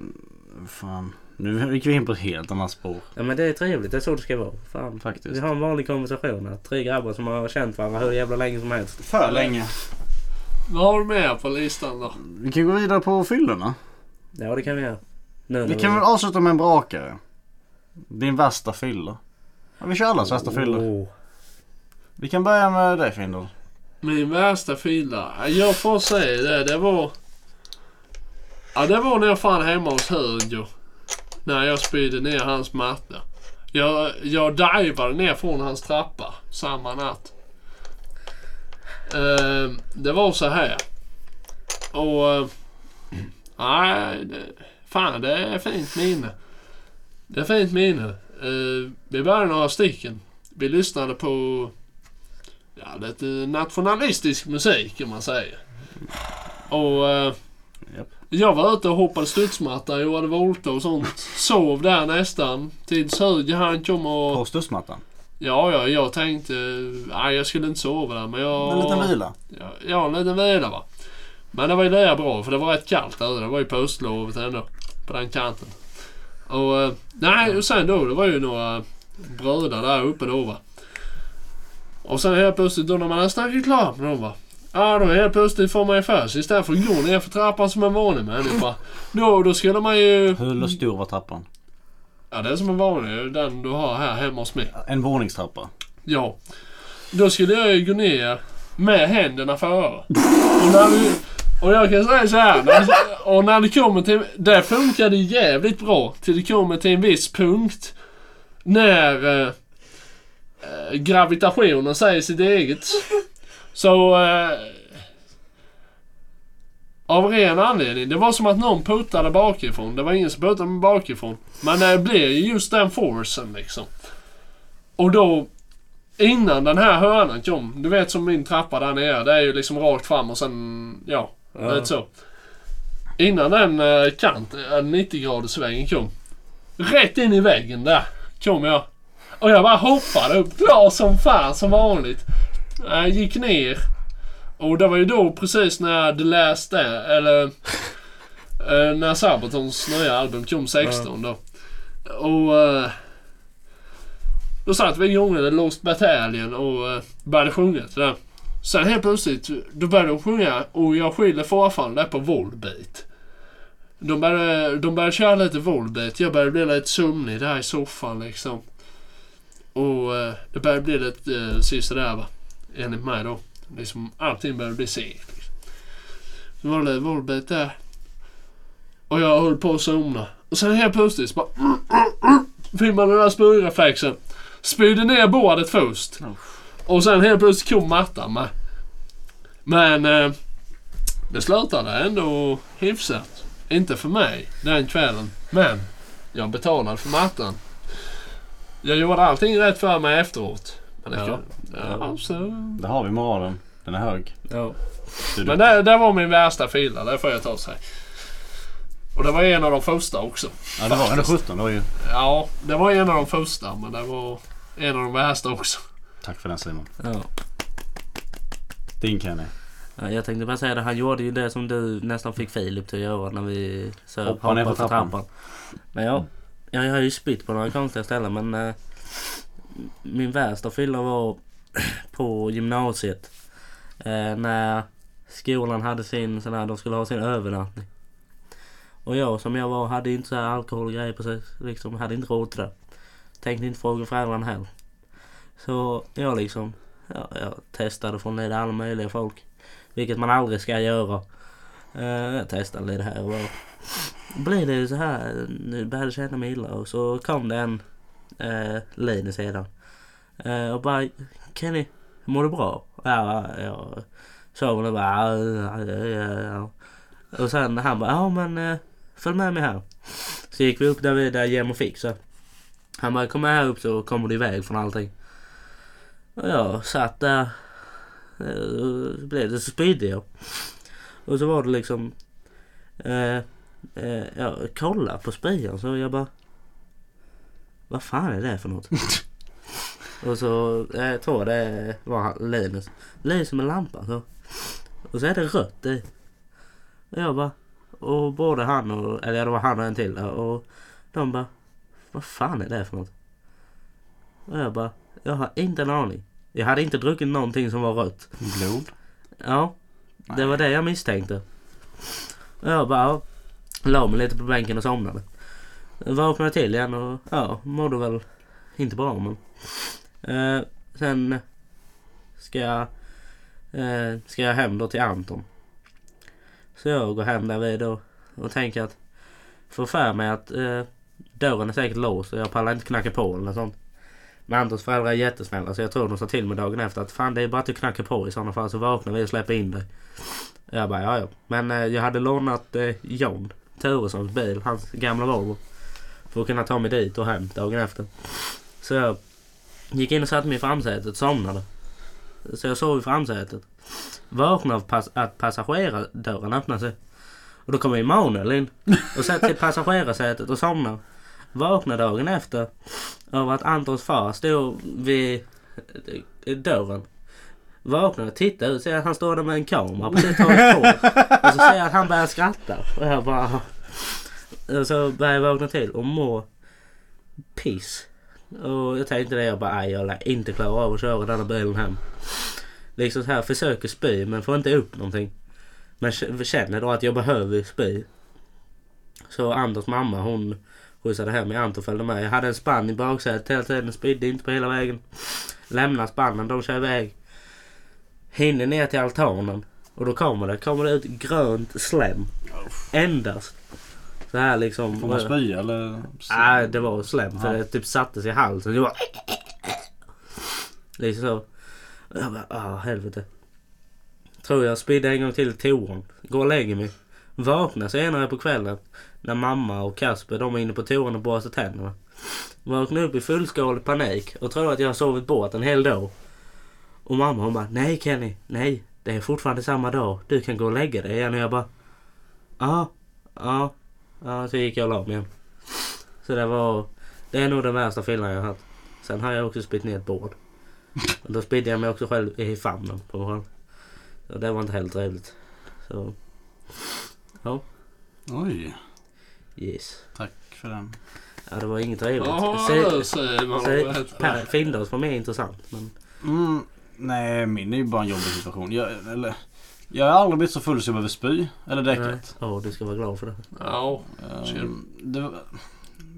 fan. Nu gick vi in på ett helt annat spår
Ja, men det är trevligt. Det är så det ska vara. Fan. Vi
faktiskt.
har en vanlig konversation här. Tre grabbar som har känt varandra hur jävla länge som helst.
För länge.
Vad har du med på listan då?
Vi kan gå vidare på fyllorna.
Ja, det kan vi göra. Nu,
Vi kan väl avsluta med en brakare. Din värsta fylla. Ja, vi kör allas värsta fyllor.
Oh.
Vi kan börja med dig Findel.
Min värsta fylla. Jag får säga det. Det var... Ja, det var när jag fan hemma hos Hugo. När jag spydde ner hans matta. Jag, jag divade ner från hans trappa samma natt. Ehm, det var så här. Och... eh, Nej, det, fan det är fint minne. Det är fint minne. Eh, vi var några stycken. Vi lyssnade på ja, lite nationalistisk musik om man säger. Och eh,
Japp.
jag var ute och hoppade studsmatta, gjorde volter och sånt. Sov där nästan tills Hugo han kom
På
och...
studsmattan.
Ja, ja, jag tänkte... Nej, jag skulle inte sova där men jag...
En liten vila.
Ja, ja, en liten vila va. Men det var ju lika bra för det var rätt kallt ute. Det var ju på höstlovet ändå. På den kanten. Och eh, nej, och sen då. Det var ju några bröder där uppe då va. Och sen helt plötsligt då när man har snackat klart med dem va. Ja då helt plötsligt får man ju för sig istället för att gå ner för trappan som en vanlig människa. Då, då skulle man ju...
Hur stor var trappan?
Ja det är som en vanlig, den du har här hemma hos mig.
En våningstrappa.
Ja. Då skulle jag ju gå ner med händerna före. Och, när vi, och jag kan säga så här. När, och när det kommer till... Det funkade jävligt bra till det kommer till en viss punkt. När eh, eh, gravitationen säger sitt eget. Så... Eh, av ren anledning. Det var som att någon puttade bakifrån. Det var ingen som puttade mig bakifrån. Men det blev ju just den forcen liksom. Och då Innan den här hörnan kom, du vet som min trappa där nere, det är ju liksom rakt fram och sen, ja,
Ja.
lite Eh, så. Innan den eh, kant, eh, 90 graders svängen kom, rätt in i väggen där kom jag. Och jag bara hoppade upp, glad som fan som vanligt. Jag gick ner. Och det var ju då precis när The Last Dance, eller eh, när Sabatons nya album kom 16 då. Och... eh, då satt vi igång med Lost Battalion och eh, började sjunga till den. Sen helt plötsligt, då började de sjunga och jag skyller fortfarande på Volbeat. De började, de började köra lite Volbeat, jag började bli lite sömnig där i soffan liksom. Och eh, det började bli lite eh, sista där va. Enligt mig då. Liksom allting började bli segt. Liksom. Så var det lite Volbeat där. Och jag höll på att somna. Och sen helt plötsligt så bara... Fick man den där spyrreflexen. Spydde ner bordet först.
Oh.
Och sen helt plötsligt kom mattan med. Men eh, det slutade ändå hyfsat. Inte för mig den kvällen. Men jag betalade för mattan. Jag gjorde allting rätt för mig efteråt. Men det,
Ja.
ja. Ja, så.
Där har vi moralen. Den är hög.
Ja.
Du, du.
Men det, det var min värsta fylla, det får jag ta och säga. Och det var en av de första också.
Ja, det var, eller 17, det var ju...
Ja, det var en av de första men det var en av de värsta också.
Tack för den Simon.
Ja.
Din Kenny.
Ja, Jag tänkte bara säga det, han gjorde ju det som du nästan fick Filip till att göra när vi söp
Hoppa ner för trappan.
Men ja, ja, jag har ju spytt på några konstiga ställen men eh, min värsta fylla var på gymnasiet. Eh, när skolan hade sin sån här, de skulle ha sin övernattning. Och jag som jag var hade ju inte så här alkohol och grejer precis, liksom hade inte råd till det. Tänkte inte fråga föräldrarna heller. Så jag liksom, ja, jag testade från lite alla möjliga folk. Vilket man aldrig ska göra. Eh, jag testade lite här och var. Blev det så här, nu började jag känna mig illa och så kom det en eh, Linus sedan. Eh, och bara Kenny, mår du bra? Ja, jag sa väl och bara ja, ja, ja, ja. Och sen han bara, ja men eh, följ med mig här. Så gick vi upp där vi där Jem och fick så. Han bara, kom med här upp så kommer du iväg från allting. Och jag satt där Eh, så blev det så spydde jag. Och så var det liksom... Eh, eh, jag kollade på spyan så jag bara... Vad fan är det för något? och så eh, jag tror det var han, Linus. Lyser med lampan så. Och så är det rött i. Och jag bara... Och både han och... Eller ja, det var han och en till. Och de bara... Vad fan är det för något? Och jag bara... Jag har inte en aning. Jag hade inte druckit någonting som var rött.
Blod.
Ja, det var det jag misstänkte. Och jag bara ja, la mig lite på bänken och somnade. Vaknade till igen och ja, mådde väl inte bra men. Eh, sen ska jag, eh, ska jag hem då till Anton. Så jag går hem därvid då och tänker att får för mig att eh, dörren är säkert låst och jag pallar inte knacka på eller något sånt. Men Antons föräldrar är jättesnälla så jag tror de sa till mig dagen efter att fan det är bara att du knackar på i sådana fall så vaknar vi och släpper in dig. Jag bara ja ja. Men eh, jag hade lånat eh, John Turessons bil, hans gamla Volvo. För att kunna ta mig dit och hem dagen efter. Så jag gick in och satte mig i framsätet somnade. Så jag sov i framsätet. Vaknade av pass- att passagerardörren öppnade sig. Och då kom Emanuel in och satte sig i passagerarsätet och somnade. Vaknade dagen efter av att Antons far stod vid eh, dörren. Vaknar och tittar ut ser att han står där med en kamera precis tar ett på. Och så ser jag att han börjar skratta. Och jag bara... Och så börjar jag vakna till och må piss. Och jag tänkte det, jag bara "Aj, jag lär inte klara av att köra denna bilen hem. Liksom så här försöker spy men får inte upp någonting. Men k- känner då att jag behöver spy. Så Anders mamma hon skjutsade hem mig. Anton följde med. Jag hade en spann i baksätet hela tiden. Spydde inte på hela vägen. Lämnar spannen. De kör iväg. Hinner ner till altanen. Och då kommer det. Kommer det ut grönt slem. Endast. Så här liksom.
Får man spy eller?
Nej, det var slem för
Typ Ja.
det typ satte sig i halsen. Det var... Liksom så. Och Jag bara, ah helvete. Tror jag spydde en gång till i toan. Går och lägger mig. Vaknar senare på kvällen. När mamma och Kasper de är inne på toan och borstar tänderna. Vaknar upp i fullskalig panik och tror att jag har sovit bort en hel dag. Och mamma hon bara, nej Kenny, nej. Det är fortfarande samma dag. Du kan gå och lägga dig igen. Och jag bara, ja, ja. Ja, så gick jag och la mig igen. Så det var... Det är nog den värsta fyllan jag har haft. Sen har jag också spytt ner ett bord. Och då spydde jag mig också själv i famnen på mig själv. Och det var inte helt trevligt. Så... Ja,
Oj.
yes.
Tack för den.
Ja, det var inget trevligt.
Ja,
Se-
nu säger man vad det
se- Per
heter.
Findaus var mer intressant. Men
Mm, nej, min är ju bara en jobbig situation. Jag, eller, jag har aldrig blivit så full så jag behöver spy. Eller däcket.
ja, du ska vara glad för det.
Ja, Ser
Um, det,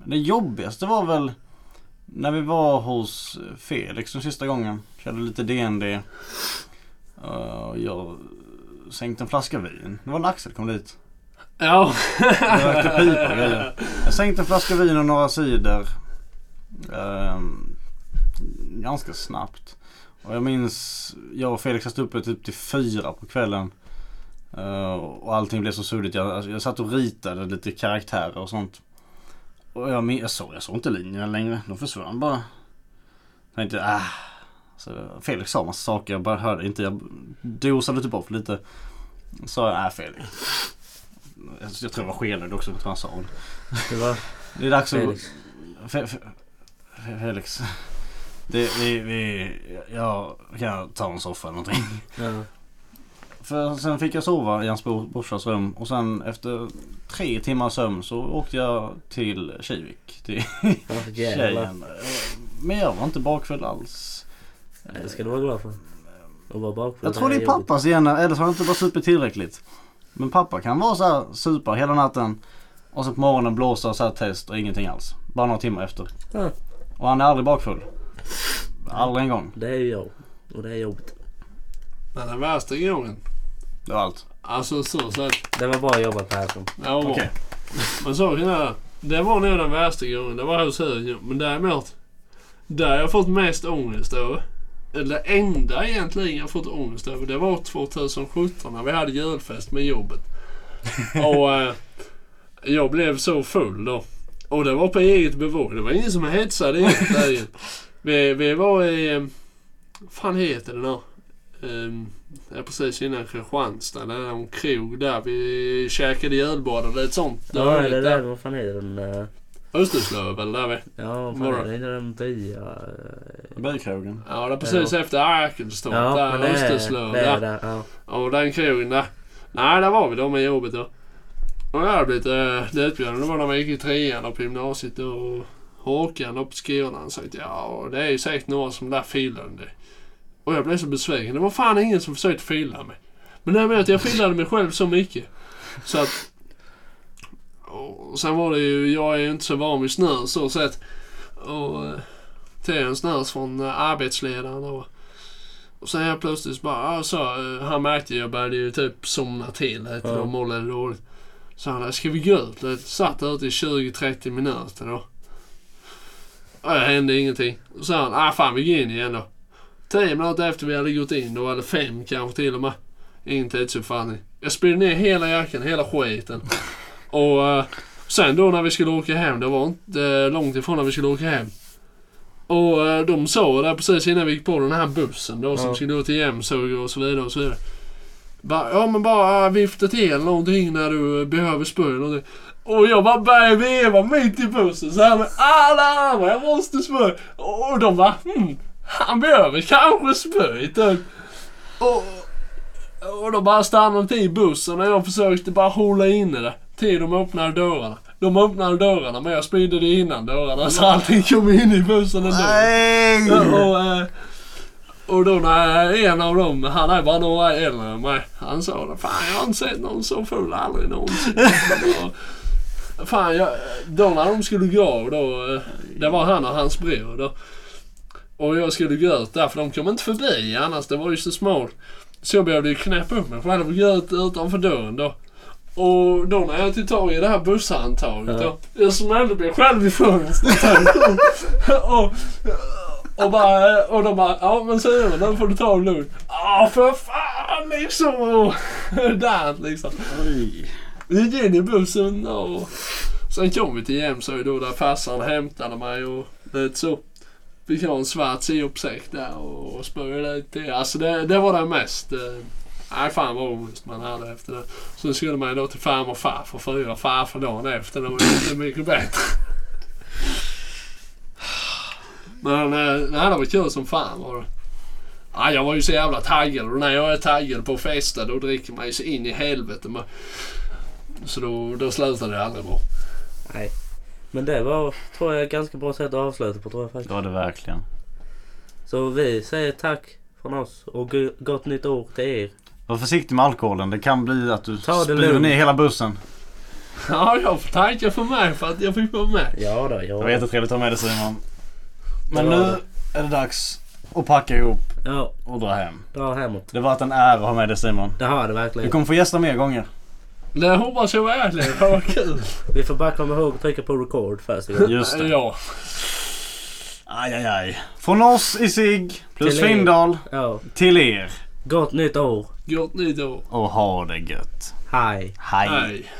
det jobbigaste var väl när vi var hos Felix den sista gången. Körde lite DND. Eh, och jag sänkte en flaska vin. Det var när Axel kom dit.
ja.
Det rökte pipa och grejer. Jag sänkte en flaska vin och några cider. ehm, ganska snabbt. Och jag minns, jag och Felix satt uppe typ till fyra på kvällen. Eh, och allting blev så suddigt. Jag, alltså, jag satt och ritade lite karaktärer och sånt. Och jag, min- jag, såg, jag såg inte linjerna längre. De försvann bara. Jag tänkte, ah. Så Felix sa massa saker. Jag bara hörde inte. Jag dosade typ bort lite. Så sa jag, ah Felix. Jag tror det var skenögd också mot vad han sa.
Det var
Det är dags att...
Felix.
Fe, fe, Fe- Felix. Det, vi, vi, jag kan ta en soffa eller någonting.
Ja.
För sen fick jag sova i hans bro- brorsas rum och sen efter tre timmar sömn så åkte jag till Kivik. Till
Ja, jävlar.
tjejen. Men jag var inte bakfull alls.
Det ska du vara glad för. Och vara bakfull.
Jag tror det är
jobbigt.
pappas gena, eller så har han inte varit super tillräckligt. Men pappa kan vara så här super hela natten och så på morgonen blåsa så här test och ingenting alls. Bara några timmar efter.
Ja,
Och han är aldrig bakfull. Aldrig en gång.
det är ju jag. Och det är jobbigt.
Men den värsta gången.
Det var allt.
Alltså så, så att...
Det var bra jobbat Persson.
Det var bra.
Okej.
Men saken är, det var nog den värsta gången. Det var hos Hugo. Men däremot, där jag fått mest ångest över. Eller det enda egentligen jag fått ångest över, det var 2017 när vi hade julfest med jobbet. Och eh, jag blev så full då. Och det var på eget bevåg. Det var ingen som hetsade egentligen. Vi, vi var i... eh, Vad fan heter det nu? Ehm, det är precis innan Kristianstad. Det är en krog där. Vi käkade julbord och lite sånt.
Ja, det där. Vad fan är den? eh,
Österslöv eller där vi.
Ja, vad fan
Vadå?
är det? Är det den bya... eh,
Bykrogen.
Ja, det är precis efter Arkelstorp.
Ja,
där,
men det är
Österslöv.
det. Är
där.
där. Ja.
Och den krogen där. Nej, där var vi då med jobbet då. Och jag hade blivit äh, utbjuden. Det var när vi gick i trean då på gymnasiet då. och Håkan då på skolan han sa att ja, det är ju säkert några som där filar dig. Och jag blev så besviken. Det var fan ingen som försökte fila mig. Men det här med att jag filade mig själv så mycket. Så att... Och sen var det ju, jag är ju inte så van vid snus så sett. Och... eh, Tog en snus från eh, arbetsledaren då. Och sen helt plötsligt så bara, alltså, han märkte ju, jag började ju typ somna till lite
Ja.
och må lite dåligt. Så han, ska vi gå ut lite? Satt ute i 20-30 minuter då. Och det hände ingenting. Och så han, ah fan vi går in igen då. Tio minuter efter vi hade gått in då, eller fem kanske till och med. Ingen tidsuppfattning. typ Jag spydde ner hela jackan, hela skiten. Och eh, sen då när vi skulle åka hem, det var inte eh, långt ifrån när vi skulle åka hem. Och eh, de sa där precis innan vi gick på den här bussen då som
Ja.
skulle gå till Jämshög och så vidare och så vidare. Bara, ja men bara vifta till någonting när du eh, behöver spö eller någonting. Och jag bara började veva mitt i bussen så här med alla andra, jag måste spö. Och de bara, hmm, han behöver kanske spö typ. Och, och de bara stannade till bussen och jag försökte bara hålla inne det. Till de öppnade dörrarna. De öppnade dörrarna men jag spydde det innan dörrarna så allting kom in i bussen ändå.
Nej!
Ja, Och, eh, och då när en av dem, han är bara några äldre än mig. Han sa det, fan jag har inte sett någon så full aldrig någonsin. Och, fan jag, då när de skulle gå av då, eh, det var han och hans bror då. Och jag skulle gå ut där för de kom inte förbi annars, det var ju så smalt. Så jag behövde ju knäppa upp mig själv och gå ut utanför dörren då. Och då när jag tog tag i det här busshandtaget då. Jag smällde mig själv i fönstret. och, och, bara, och de bara, ja men Simon den får du ta det lugnt. Ja för fan liksom. Och där liksom.
Oj.
Vi gick in i bussen och sen kom vi till Jämshög då där farsan hämtade mig och lite så. Fick ha en svart siopsäck där och spöade lite till. Alltså det, det var det mest. eh, Nej fan vad ångest man hade efter det. Sen skulle man ju då till farmor och farfar fyra farfar dagen efter. Det var ju inte mycket bättre. Men eh, nej, det var kul som fan var det. Ja, jag var ju så jävla taggad och när jag är taggad på att festa då dricker man ju så in i helvete. Men så då, då slutade det aldrig bra.
Nej. Men det var, tror jag, ett ganska bra sätt att avsluta på tror jag faktiskt.
Det var det verkligen.
Så vi säger tack från oss och go- gott nytt år till er.
Var försiktig med alkoholen. Det kan bli att du
Ta det
spyr
lugnt.
ner hela bussen.
Ja, jag får tacka för mig för att jag fick vara med.
Ja då, ja.
Det var jättetrevligt att ha med dig Simon. Men
Det var
nu är det dags att packa ihop
Ja,
och dra hem.
dra hemåt.
Det har varit en ära att ha med dig Simon.
Det har det
Du
verkligen.
kommer få gästa mer gånger.
Det hoppas jag verkligen. Det var kul.
Vi får bara komma ihåg att trycka på record först. igen.
Just det.
Ja.
Aj, aj, aj. Från oss i SIG plus
Till er.
Findal
Ja.
till er.
Gott nytt år.
Gott nytt år.
Och ha det gött.
Hej.
Hej.
Hej.